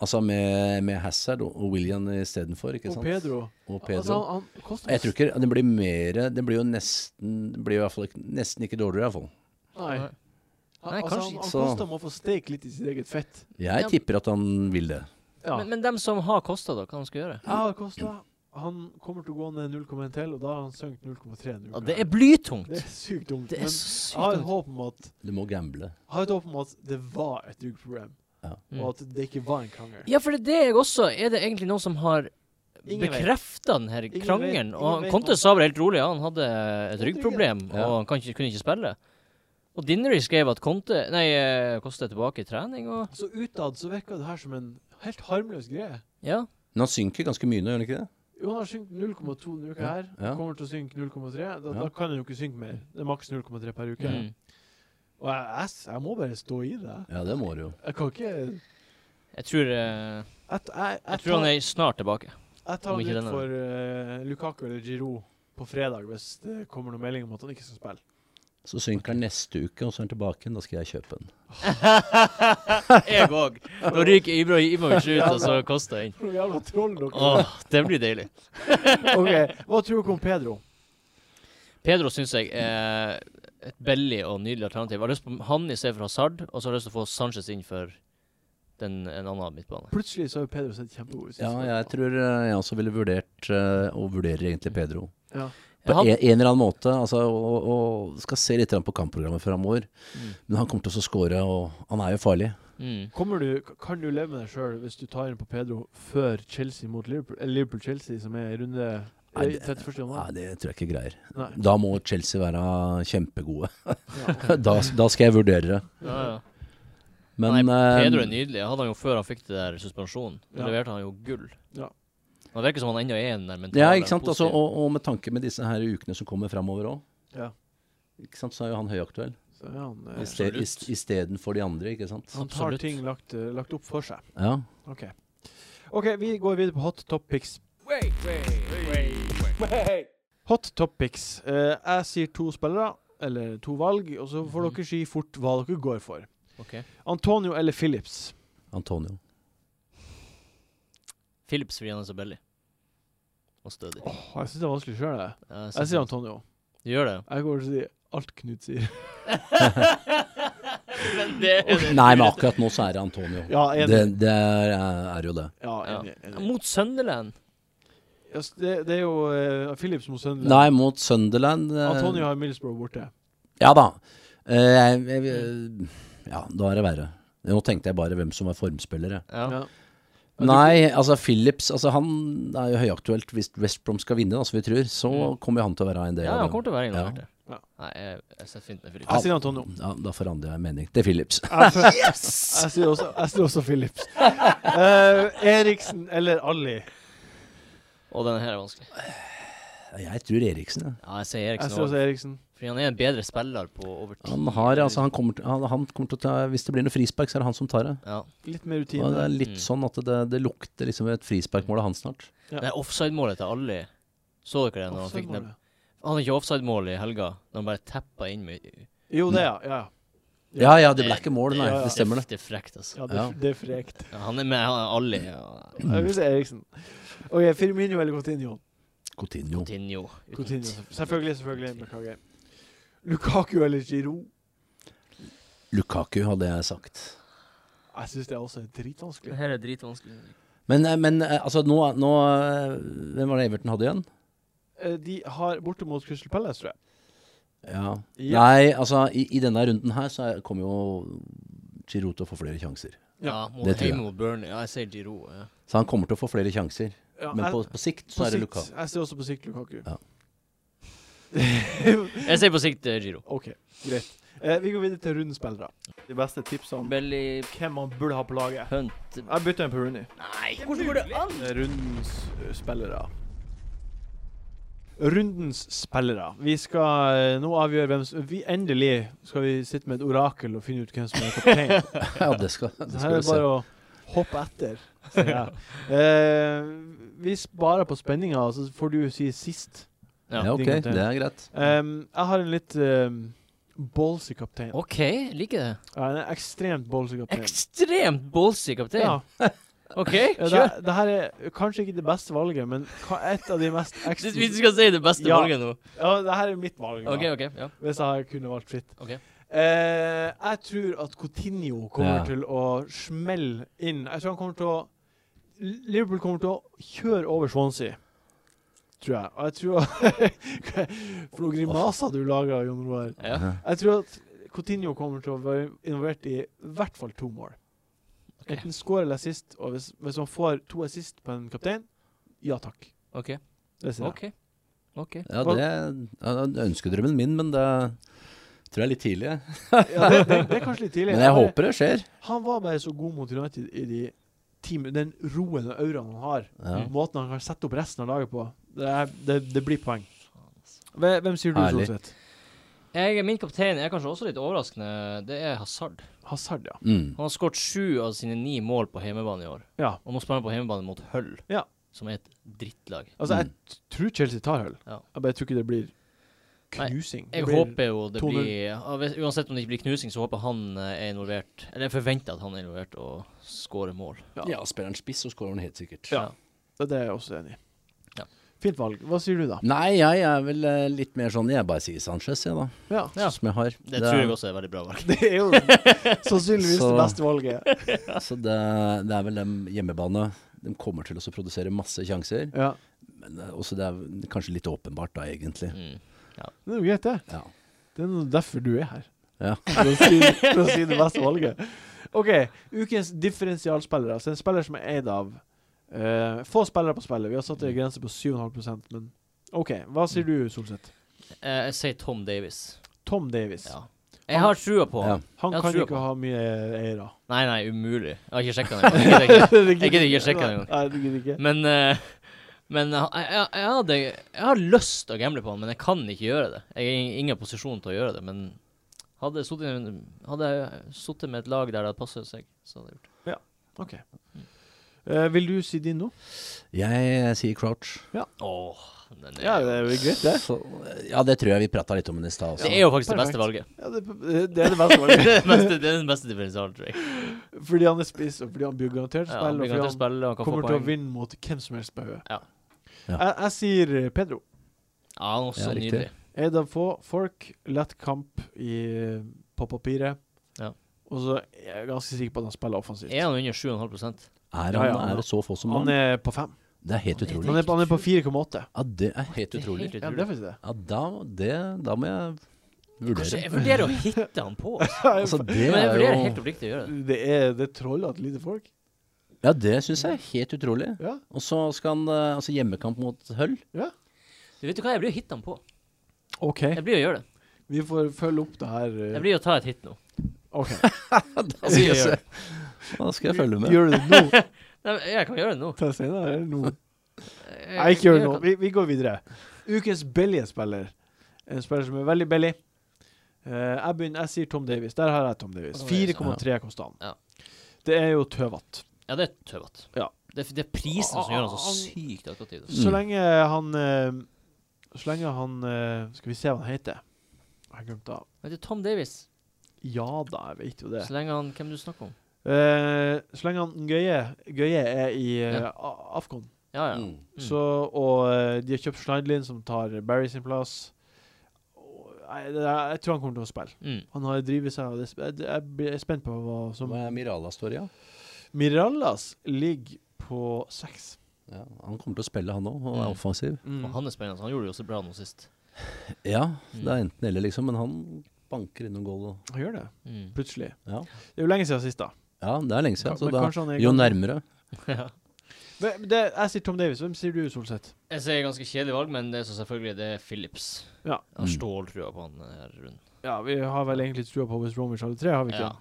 C: Altså med, med Hazard og og William istedenfor, ikke
A: og
C: sant?
A: Pedro.
C: Og
A: Altså,
C: Pedro.
A: han, han koster
C: Jeg tror ikke Den blir mer Den blir jo nesten Den blir jo i hvert fall ikke, nesten ikke dårligere, iallfall.
A: Nei.
B: Nei.
A: Han,
B: Nei,
A: altså,
B: kanskje
A: han,
C: ikke
A: han
C: så-
A: koster må få steik litt i sitt eget fett.
C: Jeg
B: Ja.
C: tipper at han vil det.
A: Ja.
B: Men, men dem som har kosta, da? Hva de skal gjøre?
A: jeg har kosta. Han kommer til å gå ned 0,1 til, og da har han sunket 0,3. nå.
B: Ja, det er blytungt!
A: det er sykt dumt.
B: Det
A: men
B: er så
A: jeg har et
B: sykt.
A: håp om at
C: Du må gamble.
A: jeg har et håp om at det var et duggproblem,
B: Mm.
A: og at det ikke var en krangel.
B: Ja, for det er det jeg også Er det egentlig noen som har
A: Ingen vet.
B: bekrefta her
A: Ingen
B: krangelen?
A: vet-
B: Og han-
A: ingen vet
B: Conte
A: noe.
B: sa vel helt rolig ja, han hadde et
A: Ryggen.
B: ryggproblem,
C: Ja.
B: og han kan ikke, kunne ikke spille. Og Dinnery skrev at Conte Nei, eh, Costa er tilbake i trening, og
A: Så utad så virka det her som en helt harmløs greie.
B: Ja.
C: Men han synker ganske mye nå, gjør han ikke det?
A: Jo, han har synket 0,2 denne uka
C: Ja,
A: her.
C: ja.
A: Kommer til å synke 0,3. Da,
C: Ja.
A: da kan han jo ikke synke mer. Det er maks 0,3 per uke.
B: Mm.
A: Og jeg, jeg, s- jeg må bare stå i det.
C: Ja, det må du jo.
A: Jeg kan ikke
B: Jeg tror, eh,
A: Jeg, t- jeg, jeg,
B: jeg tror han
A: tar,
B: er snart
C: [LAUGHS]
B: tilbake.
A: jeg tar
B: om
A: han
B: ikke
A: ut
B: denne.
A: for eh, Lukaku eller Giroud på fredag hvis det kommer noen melding om at han ikke skal spille. [LAUGHS]
C: Så synker han neste uke, og så er han tilbake igjen. Da skal jeg kjøpe den.
B: jeg òg. Da ryker Ibra Ibrahimovic ut, og så koster jeg inn.
A: For noen jævla troll dere er.
B: Åh, det blir deilig.
A: OK, hva tror dere om Pedro?
B: Pedro syns jeg er et billig og nydelig alternativ. Jeg har lyst på han istedenfor Hazard, og så har jeg lyst til å få Sanchez inn for den, en annen midtbane.
A: Plutselig så har jo Pedro sett kjempegod ut. siste
C: Ja, jeg
A: kampen.
C: tror eh, jeg også ville vurdert, eh, og vurderer egentlig Pedro.
A: Ja.
C: På
B: Han,
C: en, en eller annen måte. Altså, og, og skal se litt grann på kampprogrammet framover.
B: Mm.
C: Men han kommer til å skåre, og han er jo farlig.
B: mm.
A: Kommer du, k- kan du leve med deg sjøl hvis du tar inn på Pedro før Chelsea mot Liverpool, eller Liverpool-Chelsea, som er i runde
C: Nei,
A: eh,
C: det-
A: 31.
C: Nei,
A: januar?
C: det tror jeg ikke greier.
A: Nei.
C: Da må Chelsea være kjempegode.
A: Ja, ok.
C: [LAUGHS] da, da skal jeg vurdere det.
B: ja, ja.
C: Men
B: Nei, Pedro
C: eh,
B: er nydelig. Jeg hadde han jo før han fikk det der suspensjonen. Da
A: Ja.
B: leverte han jo gull.
A: Ja.
B: Men Det virker som han ennå er den der mentale
C: Ja, ikke sant? Altså,
B: positive.
C: og, og med tanke med disse her ukene som kommer framover òg,
A: Ja.
C: så er jo han høyaktuell.
A: Så er han, eh,
B: Absolutt.
C: Istedenfor de andre, ikke sant.
A: han tar
B: absolutt.
A: ting lagt, eh, lagt opp for seg.
C: Ja.
A: OK. Ok, Vi går videre på hot top picks. Hot top picks. Eh, jeg sier to spillere, eller to valg, og så får
B: Mhm.
A: dere si fort hva dere går for.
B: Ok.
A: Antonio eller Phillips?
C: Antonio.
B: Philips fordi han er så billig. Og stødig.
A: Åh, jeg syns det er vanskelig sjøl, jeg.
B: Ja, jeg
A: Jeg
B: synes
A: sier
B: han-
A: Antonio. [LAUGHS]
B: Du gjør det?
A: Jeg går til å si alt Knut sier.
B: men det er det.
C: Nei, men akkurat nå så er det Antonio.
A: Ja,
C: Det,
A: enig.
C: det er, er jo det.
A: Ja,
B: Ja.
A: enig, enig.
B: Mot Sunderland.
A: Ja, s- det, det er jo eh, Phillips mot Sunderland.
C: Nei, mot Sunderland eh,
A: Antonio har Middlesbrough borte.
C: Ja da. Eh, jeg, jeg, ja, da er det verre. Nå tenkte jeg bare hvem som var formspillere.
B: Ja.
A: Ja. Ja, du-
C: Nei, altså Phillips altså Han er jo høyaktuelt hvis West Brom skal vinne, da, som vi tror. Så
B: Mm.
C: kommer jo han til å være en del
B: Ja, han
C: av
B: kommer til å være involvert der.
A: Ja.
B: Nei, jeg, jeg setter fint med Philips.
A: Jeg sier Antonio.
C: Ja, da forandrer jeg mening til Phillips.
A: Yes! Jeg sier også, jeg sier også Philips. Eh, Eriksen eller Ali?
B: Og denne her er vanskelig.
C: Jeg tror Eriksen, jeg.
B: Ja, jeg sier
A: Jeg
B: Eriksen
A: sier
B: også.
A: også Eriksen.
B: Fordi han er en bedre spiller på over tid.
C: Han har, altså, han kommer, til- han, han kommer til å ta Hvis det blir noe frispark, så er det han som tar det.
B: Ja.
A: Litt mer
C: Og det
A: rutine.
C: er litt
B: Mm.
C: sånn at det, det lukter liksom et frisparkmål av han snart.
A: Ja.
B: Det er offside-målet til Ali. Så
A: Sånn
B: dere det? når Han fikk den
A: Offside-målet.
B: Han hadde ikke offside-mål i helga, når han bare teppa inn med
A: Jo, det, ja. ja.
C: Ja ja, det ble ikke mål, nei.
A: Ja, ja.
C: Det stemmer, det.
B: Det er frekt, altså.
A: ja det,
C: Ja.
A: det er frekt.
B: Ja, han er med han er Ali og
A: Jeg vil si Eriksen. OK, Firmino eller Coutinho?
C: Coutinho.
B: Tinho.
A: Coutinho. Selvfølgelig, selvfølgelig. Beklager. Lukaku eller Giroud?
C: Lukaku, hadde jeg sagt.
A: Jeg syns det er også dritvanskelig.
B: her er dritvanskelig.
C: Men, eh, men eh, altså, nå, nå eh, Hvem var det Everton hadde igjen?
A: Eh, De har borte mot Crystal Palace, tror jeg.
C: Ja.
A: Ja.
C: Nei, altså, i, i denne runden her så er- kommer jo Giroud til å få flere sjanser.
B: Ja,
A: Ja,
B: mot
C: det tror jeg.
B: Heimo og Burnley. Ja, jeg sier Giroud. Ja.
C: Så han kommer til å få flere sjanser.
A: Ja,
C: Men
A: jeg-
C: på, på sikt så
A: på
C: er det
A: sikt-
C: Lukaku. [LAUGHS]
A: Jeg ser også på sikt Lukaku.
C: Ja.
B: Jeg sier på sikt eh, Giroud.
A: [LAUGHS] OK, greit. Eh, vi går videre til rundens spillere. De beste tipsene om
B: Belly
A: hvem man burde ha på laget.
B: Hunt
A: Jeg bytter en på Rooney.
B: Nei, hvordan går det an?
A: Rundens eh, spillere. Rundens spillere. Vi skal eh, nå avgjøre hvem som vi Endelig skal vi sitte med et orakel og finne ut hvem som er
C: [LAUGHS]
A: kaptein.
C: Ja, det skal, det
A: Så
C: skal
A: her er
C: vi
A: det
C: se.
A: bare å hoppe etter. sier
C: [LAUGHS]
A: jeg. Eh, vi sparer på spenninga, så får du si sist.
B: Ja.
C: Ja, ok,
A: Din kaptein.
C: det er greit.
A: Em, jeg har en litt um, ballsy kaptein.
B: OK, liker det.
A: Ja, en ekstremt ballsy kaptein.
B: Ekstremt ballsy kaptein.
A: Ja,
B: OK,
A: det,
B: kjør.
A: det her er kanskje ikke det beste valget, men ka- et av de
B: [LAUGHS]
A: mest
B: Hvis vi
A: ekstra...
B: skal si det beste
A: Ja.
B: valget nå.
A: Ja, det her er mitt valg, da,
B: OK, OK. Ja.
A: hvis jeg kunne valgt fritt.
B: Ok.
A: Eh, jeg tror at Coutinho kommer
C: Ja.
A: til å smelle inn. Jeg tror han kommer til å Liverpool kommer til å kjøre over Swansea, tror [LAUGHS] jeg. Og jeg tror For noen grimaser du lager, Jon Roar.
B: ja.
A: Jeg tror at Coutinho kommer til å være involvert i i hvert fall to mål.
B: Ok.
A: Enten score eller assist, og hvis, hvis han får to assist på en kaptein, ja takk.
B: OK.
A: Det sier jeg.
B: OK. OK.
C: Ja, det er ønskedrømmen min, men det tror jeg er litt tidlig. jeg.
A: Ja, det, det, det er kanskje litt tidlig.
C: [LAUGHS] Men jeg
A: bare-
C: håper det skjer.
A: Han var bare så god mot United i de ti min- den roen og auraen han har.
C: Ja.
B: Mm.
A: Måten han kan sette opp resten av laget på. Det, er, det, det blir poeng. Hve- Hvem sier du,
C: Herlig.
A: Solseth?
B: Jeg, min kaptein er kanskje også litt overraskende. Det er Hazard.
A: Hazard, ja.
C: Mm.
B: Han har skåret sju av sine ni mål på hjemmebane i år.
A: ja.
B: Og nå spiller han på hjemmebane mot Hull,
A: Ja.
B: som er et drittlag.
A: Altså,
C: Mm.
A: jeg t- tror Chelsea tar hull.
B: Ja.
A: Jeg bare tror ikke det blir
B: Nei,
A: knusing.
B: Jeg
A: det blir,
B: håper jo det
A: 2-0.
B: blir ja, hvis- Uansett om det ikke blir knusing, så håper jeg han eh, er involvert. Eller jeg forventer at han er involvert og skårer mål.
A: Ja.
C: Ja, spiller han spiss, så skårer han helt sikkert.
A: Ja. Det er det jeg også er enig i.
B: Ja.
A: Fint valg. Hva sier du, da?
C: Nei, jeg er vel eh, litt mer sånn Jeg bare sier Sanchez, jeg, da.
A: [LAUGHS] Ja.
B: Ja.
C: Som jeg har.
B: Det tror jeg også er veldig bra valg.
A: Det er jo sannsynligvis
C: Så-
A: det beste valget.
C: Så det, det er vel dem hjemmebane. De kommer til å så produsere masse sjanser.
A: Ja.
C: Men det er Eh, også det er kanskje litt åpenbart, da, egentlig.
B: Mm.
A: Det er jo greit, det.
C: Ja.
A: Det er nå derfor du er her.
C: Ja.
A: For å si, for å si det beste valget. OK. Ukens differensialspillere. Altså en spiller som er eid av eh, få spillere på spillet. Vi har satt en grense på 7,5 men OK. Hva sier du, Solseth?
B: Eh, jeg sier Tom Davis.
A: Tom Davis.
B: Ja. Jeg har trua på
C: Ja.
B: han.
A: Han
B: Jeg
A: kan
B: tror
A: ikke
B: på-
A: ha mye eiere.
B: Nei, nei, umulig. Jeg har ikke sjekka den. Jeg
A: [LAUGHS]
B: gidder ikke.
A: Jeg
B: gidder ikke sjekke det engang.
A: Nei, det gidder ikke.
B: Men, eh, men eh, jeg, jeg, jeg, hadde, jeg har lyst til å gamble på han, men jeg kan ikke gjøre det. Jeg er i ingen posisjon til å gjøre det. Men hadde jeg sittet i en- hadde jeg sittet med et lag der det hadde passet seg, så hadde jeg gjort det.
A: OK. Eh, vil du si din nå?
C: Jeg eh, sier Crouch.
B: Åh, den er,
A: Ja, det er jo greit, det.
C: Så, eh, ja, det tror jeg vi prata litt om i stad også.
B: det er jo faktisk det
A: perfekt.
B: beste valget.
A: Ja, det, det er det beste
B: [LAUGHS] det,
A: valget. [LAUGHS]
B: er den beste, det er den beste differensialen, tror jeg.
A: Fordi han er spiss, og fordi han blir garantert
B: Ja, han
A: spill, og
B: blir garantert
A: fordi
B: spille, og han
A: han
B: kan få
A: kommer til å
B: poeng.
A: vinne mot hvem som helst på hodet.
B: Ja.
C: Ja.
A: Jeg, jeg sier eh, Pedro.
B: Ja, han er også
C: Ja, riktig.
B: nydelig.
A: Eid av få folk, lett kamp i, eh, på papiret.
B: Ja.
A: Og så er jeg ganske sikker på at han spiller offensivt.
B: Er han under 7,5
C: Er
A: Ja,
C: han
A: ja, ja.
C: er det så få som
A: Han
C: han?
A: er på fem.
C: Det er helt
B: Han er-
C: utrolig.
A: Han er på, han er på 4,8.
C: Ja, det er helt
B: Det er
C: utrolig.
B: helt
A: Ja, det er faktisk det.
C: Ja, da, det, da må jeg
B: Kanskje
C: vurdere.
B: jeg vurderer å hitte han på. altså.
C: Altså,
B: Men
C: det
B: jeg
C: er
B: vurderer
C: jo
B: helt oppriktig å gjøre det.
A: Det er, det er trollete lite folk.
C: Ja, det syns jeg er helt utrolig.
A: Ja.
C: Og så skal han eh, altså hjemmekamp mot Hull.
B: Du vet du hva, jeg blir å hitte han på.
A: OK.
B: Jeg blir å gjøre det.
A: Vi får følge opp det her. eh,
B: Jeg blir å ta et hit nå.
A: OK.
B: skal
C: Da skal
B: jeg
C: [LAUGHS] jeg,
B: gjøre
C: følge med.
A: Gjør du det nå?
B: Nei, men jeg kan gjøre det nå.
A: Ta senere, eller nå?
B: Jeg,
A: Nei, ikke gjør det nå.
B: jeg Eh, kan-
A: Vi, vi går videre. Ukens billige spiller. En spiller som er veldig billig. Eh, jeg begynner, jeg sier Tom Davies. Der har jeg Tom Davies.
B: Tom Davies,
A: 4,3 konstant.
B: Ja.
A: Det er jo tøvete.
B: Ja, det er tøvete.
A: Ja. Ah,
B: Det, er- det er prisen som gjør han så sykt attraktiv. altså.
A: Så
C: Mm.
A: lenge han eh, Så lenge han eh, Skal vi se hva han heter. Jeg glemte av.
B: Men det er Tom Davies.
A: Ja da, jeg vet jo det.
B: Så lenge han Hvem du snakker om?
A: Eh, så lenge han Gøye, Gøye er i eh, A- Afcon,
B: Ja, ja.
C: Mm.
B: Mm.
A: så, og eh, de har kjøpt Schneidlin, som tar Barry sin plass Og, Nei, det er- jeg tror han kommer til å spille.
B: Mm.
A: Han har drivet seg av det. Jeg, jeg, blir- jeg er spent på hva som
C: Hva er Mirala står i, ja?
A: Mirallas ligger på seks.
C: ja? Han kommer til å spille, han òg, og er
B: Mm.
C: offensiv.
B: Og han er spennende. Han gjorde det jo så bra nå sist.
C: Ja,
B: Mm.
C: det er enten eller, liksom, men han banker innom goal og
A: Han gjør det,
B: Mm.
A: plutselig.
C: ja.
A: Det er jo lenge siden sist, da.
C: ja, det er lenge siden. Så
A: Men
C: da,
A: kanskje han er i
C: jo
A: gang.
C: nærmere.
B: Ja.
A: Men det, jeg sier Tom Davies. Hvem sier du, Solseth?
B: Jeg sier ganske kjedelig valg, men det er så selvfølgelig det er Phillips.
A: Ja.
B: Jeg har
C: Mm.
B: ståltrua på han eh, her rundt.
A: Ja, vi har vel egentlig trua på West Bromwich alle tre, har vi ikke?
B: Ja.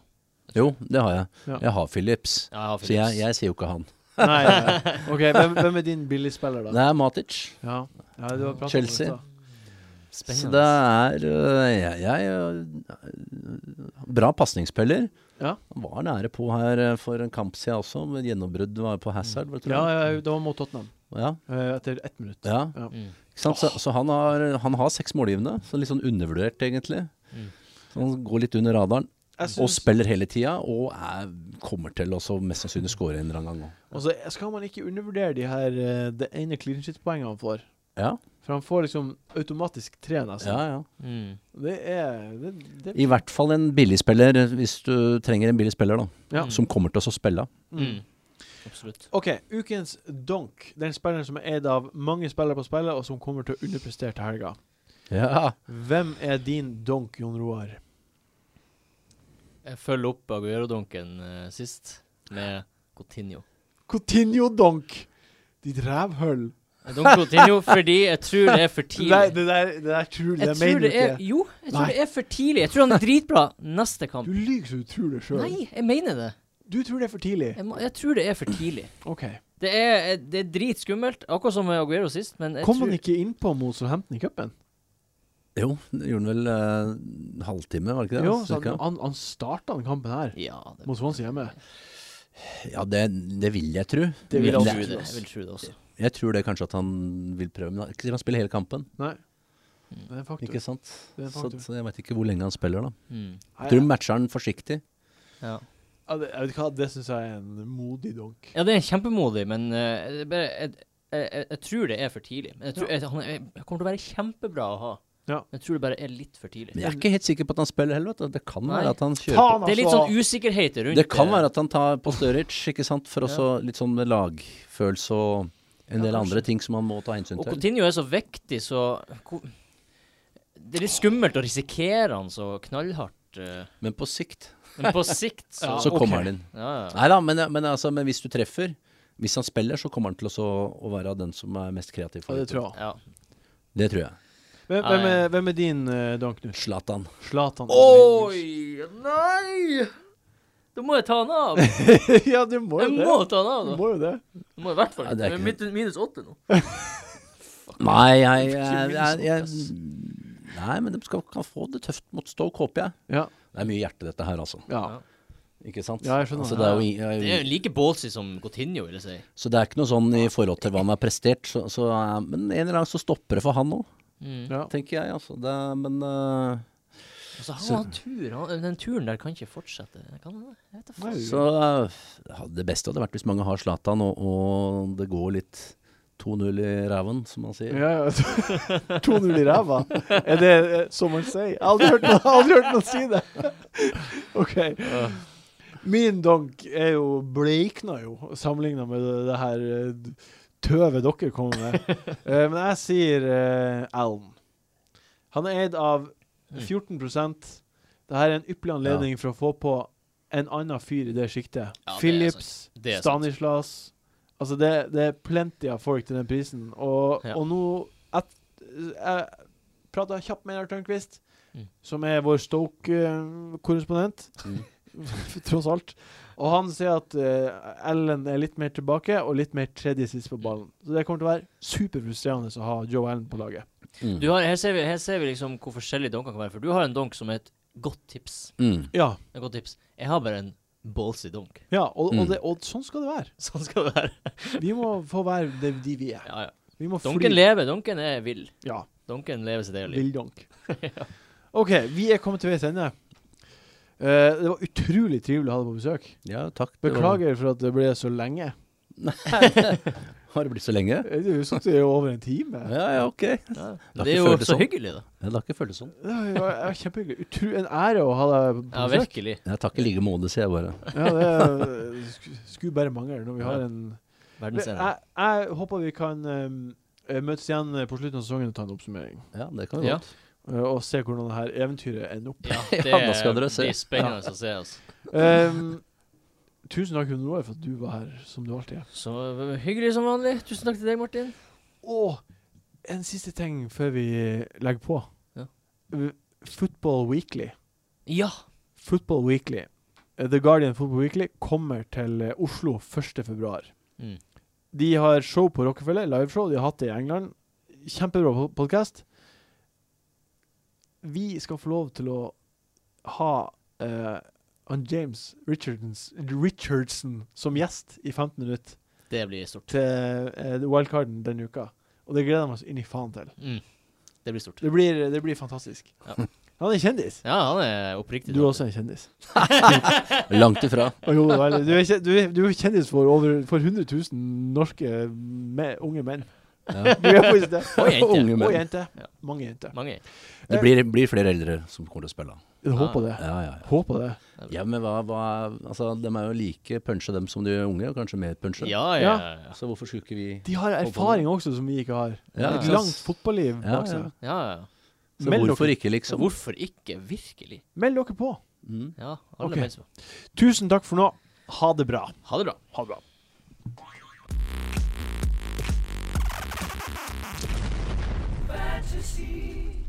C: Jo, det har jeg.
A: Ja.
C: Jeg har Philips.
B: Ja, jeg har
C: Så jeg,
B: Phillips.
C: jeg sier jo ikke han.
A: Nei,
C: [LAUGHS]
A: nei, nei. OK, hvem, hvem er din billigspiller, da?
C: Det er Matic.
A: Ja. ja, du har pratet om det
C: Chelsea.
A: i stad.
C: Så
B: Spennende.
C: det er øh, jeg, jeg øh, Bra pasningsspiller.
A: Ja.
C: Han var nære på her øh, for en kamp siden også. men Gjennombrudd var på Hazard. Vet du.
A: Ja, ja, det var mot Tottenham.
C: ja.
A: eh, Etter ett minutt.
C: ja.
B: Mm.
C: Ikke sant? Så, så han, har, han har seks målgivende, så litt sånn undervurdert egentlig.
B: Mm.
C: Så han går litt under radaren,
A: Jeg
C: og
A: syns-
C: spiller hele tida, og er, kommer til også mest sannsynlig skåre en eller annen gang òg.
A: Og så altså, skal man ikke undervurdere de her eh, det ene clean shit-poenget han får.
C: Ja,
A: For han får liksom automatisk tre, nesten.
C: ja, ja.
B: Mm.
A: Det er det, det,
C: I hvert fall en billigspiller, hvis du trenger en billig spiller, da.
A: Ja.
C: Som kommer til å spille.
B: Mm. Absolutt.
A: OK, ukens donk. Den spilleren som er eid av mange spillere på spillet, og som kommer til å underprestere til helga.
C: Ja.
A: Hvem er din donk, Jon Roar?
B: Jeg følger opp Aguero-dunken eh, sist med Coutinho.
A: Coutinho donk! Ditt rævhull.
B: Jeg dunker Coutinho fordi jeg tror det er for tidlig.
A: Nei, det der, det der tror jeg,
B: jeg
A: jeg
B: tror
A: mener du
B: det er,
A: ikke.
B: jo, jeg tror
A: Nei.
B: det er for tidlig. Jeg tror han er dritbra neste
A: Du
B: kamp.
A: lyver så du tror det sjøl.
B: Nei, jeg mener det.
A: Du tror det er for tidlig.
B: Jeg, må, jeg tror det er for tidlig.
A: OK.
B: Det er, det er dritskummelt, akkurat som med Aguero sist, men jeg
A: Kom
B: tror
A: han ikke innpå mot Southampton i cupen?
C: Jo, det gjorde han vel eh, halvtime, var det ikke det?
A: Jo, sånn.
C: Altså,
A: så han,
C: cirka?
A: han, han starta den kampen her
B: Ja, det,
A: mot Swansea hjemme.
C: Ja, det, det vil jeg tro.
A: Det vil
B: jeg
A: han
B: tro
A: også.
B: det. Jeg vil tro det også.
C: Jeg tror det kanskje at han vil prøve, men han- ikke sikkert han spiller hele kampen.
A: Nei. Det er en faktum.
C: Ikke sant?
A: Det er
C: Så,
A: faktum.
C: så jeg veit ikke hvor lenge han spiller, da.
B: Mm.
A: Nei,
C: Tror du matcher han forsiktig?
B: Ja.
A: ja, det, jeg vet ikke hva, det syns jeg er en modig donk.
B: ja, det er kjempemodig, men eh, det er bare, jeg, jeg, jeg, jeg tror det er for tidlig. Men Jeg tror, jeg, han er, han kommer til å være kjempebra å ha.
A: Ja.
B: Men Jeg tror det bare er litt for tidlig.
C: Men jeg er ikke helt sikker på at han spiller heller, vet du. Det kan
B: Nei.
C: være at han
A: Ta
C: kjøper
A: han,
B: Det er litt
A: altså.
B: sånn usikkerhet rundt
C: Det kan være at han tar på Sturridge, ikke sant, for også litt sånn med lagfølelse og
B: Ja,
C: en del
B: kanskje.
C: andre ting som han må ta hensyn
B: Og
C: til.
B: Coutinho er så viktig, så ko- Det er litt skummelt å risikere han så knallhardt. eh,
C: Men på sikt
B: Men [LAUGHS] på sikt, så
A: Ja,
C: så
A: ok.
C: kommer han inn.
B: ja, ja.
C: Nei da, men, men, altså, men hvis du treffer, hvis han spiller, så kommer han til også å være den som er mest kreativ.
A: Ja,
C: For
A: det tror jeg.
B: ja.
C: Det tror jeg.
A: Hvem,
B: Nei.
A: hvem, er, hvem er din eh, donk nå?
C: Zlatan.
A: Zlatan?
B: Oi! Nei! Da må jeg ta han av.
A: [LAUGHS] ja, du må
B: Jeg
A: jo det.
B: må ta han av,
A: Du
B: da.
A: må jo det.
B: Jeg må i hvert fall
C: Ja, det er
B: Jeg er
C: ikke-
B: min- Eh, minus åtte nå.
C: Nei, jeg, jeg,
B: Ikke
C: jeg, jeg
B: minst,
C: Nei, men de skal, kan få det tøft mot Stoke, håper jeg.
A: Ja.
C: Det er mye hjerte, dette her, altså.
A: ja.
C: Ikke sant?
A: Ja, jeg skjønner.
C: Altså, det er jo, i-
B: Det er jo like ballsy som Coutinho, vil jeg si.
C: Så det er ikke noe sånn i forhold til hva han har prestert. Så, så, eh, men en eller annen så stopper det for han òg,
B: Mm.
A: ja.
C: tenker jeg. Altså. Det, er- men eh,
B: Altså, han har tur. Han, den turen der kan ikke fortsette. Kan han det? Jeg vet da faen.
A: Nei.
C: så eh, ja, Det beste hadde vært hvis mange har Zlatan, og, og det går litt 2-0 i ræven, som man sier.
A: Ja, ja. [LAUGHS] 2-0 i ræva? Er det eh, som man sier? Jeg har aldri hørt noen, aldri hørt noen si det. [LAUGHS] OK. Min donk er jo bleikna jo, sammenligna med det, det her eh, d- tøvet dere kommer med.
B: [LAUGHS]
A: Eh, Men jeg sier eh, Allen. Han er eid av
B: Mm.
A: 14 Dette er en ypperlig anledning for å få på en annen fyr i det sjiktet.
B: Ja, det er
A: Philips,
B: Det er sant.
A: Stanislas Altså, det, det er plenty av folk til den prisen. Og,
B: Ja.
A: og nå et, Jeg prata kjapt med Einar Tørnquist,
B: Mm.
A: som er vår Stoke-korrespondent,
C: Mm.
A: [LAUGHS] tross alt. Og han sier at eh, Ellen er litt mer tilbake og litt mer tredje sist på ballen. Så det kommer til å være superfrustrerende å ha Joe Allen på laget.
C: Mm.
B: Du har, her, ser vi, her ser vi liksom hvor forskjellige donker kan være. For du har en donk som er et godt tips.
C: Mm.
A: Ja,
B: Et godt tips. Jeg har bare en ballsy donk. [LAUGHS]
A: ja og,
C: Mm.
A: og, det, og sånn skal det være.
B: Sånn skal det være.
A: Vi må få være det, de vi er.
B: Ja, ja.
A: Vi må
B: Donken
A: fly.
B: lever. Donken er vill.
A: Ja,
B: Donken lever sitt eget liv.
A: Villdonk.
B: [LAUGHS]
A: OK, vi er kommet til veis ende. Eh, det var utrolig trivelig å ha deg på besøk.
C: Ja, takk. Det var-
A: Beklager for at det ble så lenge. Eh,
C: Har det blitt så lenge?
A: Du satt jo over en time.
C: Ja, ja, ok.
B: Ja.
C: har
B: Det er
C: ikke
B: jo
C: følt det
B: så
C: sånn.
B: hyggelig, da.
C: Ja, Det har ikke føltes sånn.
A: Det var, det var kjempehyggelig. Utro, en ære å ha deg på
B: Ja,
A: besøk.
B: virkelig.
C: Jeg takker i like måte, sier jeg bare.
A: Ja, det sk- skulle bare mangle når vi har
B: Ja.
A: en jeg,
B: Verdensener.
A: jeg håper vi kan um, eh, møtes igjen på slutten av sesongen og ta en oppsummering.
C: Ja, det kan vi
B: Ja.
C: godt.
A: eh, Og se hvordan det her eventyret ender opp.
B: [LAUGHS] Ja,
C: Ja, da skal dere se.
B: blir spennende å se. Altså.
A: Um, tusen takk, Gunnar Roar, for at du var her som du alltid er.
B: Så hyggelig som vanlig. Tusen takk til deg, Martin.
A: Og en siste ting før vi legger på.
B: Ja.
A: Uh, Football Weekly.
B: Ja.
A: Football Weekly. Uh, The Guardian Football Weekly kommer til uh, Oslo 1. februar.
B: Mm.
A: De har show på Rockefeller, liveshow. De har hatt det i England. Kjempebra podkast. Vi skal få lov til å ha uh, han James Richardsons, Richardson som gjest i 15 minutter
B: Det blir stort.
A: til eh, wildcarden denne uka. Og det gleder jeg meg så inn i faen til.
B: Mm. Det blir stort.
A: Det blir, det blir fantastisk.
B: Ja.
A: Han er kjendis.
B: Ja, han er oppriktig.
A: Du er
B: dårlig.
A: også en kjendis.
C: Langt ifra.
A: Å, jo, vel, du, er, kje- du, er, du er kjendis for over for 100 000 norske me, unge menn.
C: Ja.
A: [LAUGHS] Du er faktisk det.
B: Og jenter.
C: Unge
A: Og
C: menn.
A: jenter.
B: Ja.
A: Mange jenter.
B: Mange.
C: Det blir, blir flere eldre som kommer til å spille.
A: Jeg håper det.
C: Ja, ja, ja.
A: Håper det.
C: Ja, men hva, hva Altså, de er jo like punsje dem som de unge, og kanskje mer punsje.
B: Ja, ja, ja.
C: Så hvorfor skulle ikke vi
A: De har erfaring også som vi ikke har.
C: Ja,
A: Et
C: ja.
A: langt fotballiv
C: Ja,
A: bak seg.
C: ja.
B: ja, ja.
C: Så
A: Meld
C: hvorfor
A: dere,
C: ikke, liksom?
B: Hvorfor ikke? Virkelig.
A: meld dere på.
C: Mm.
B: Ja, alle
A: Ok.
B: okay. mennesker.
A: Tusen takk for nå. Ha det bra.
B: Ha det bra.
A: Ha det bra.
D: fantasy.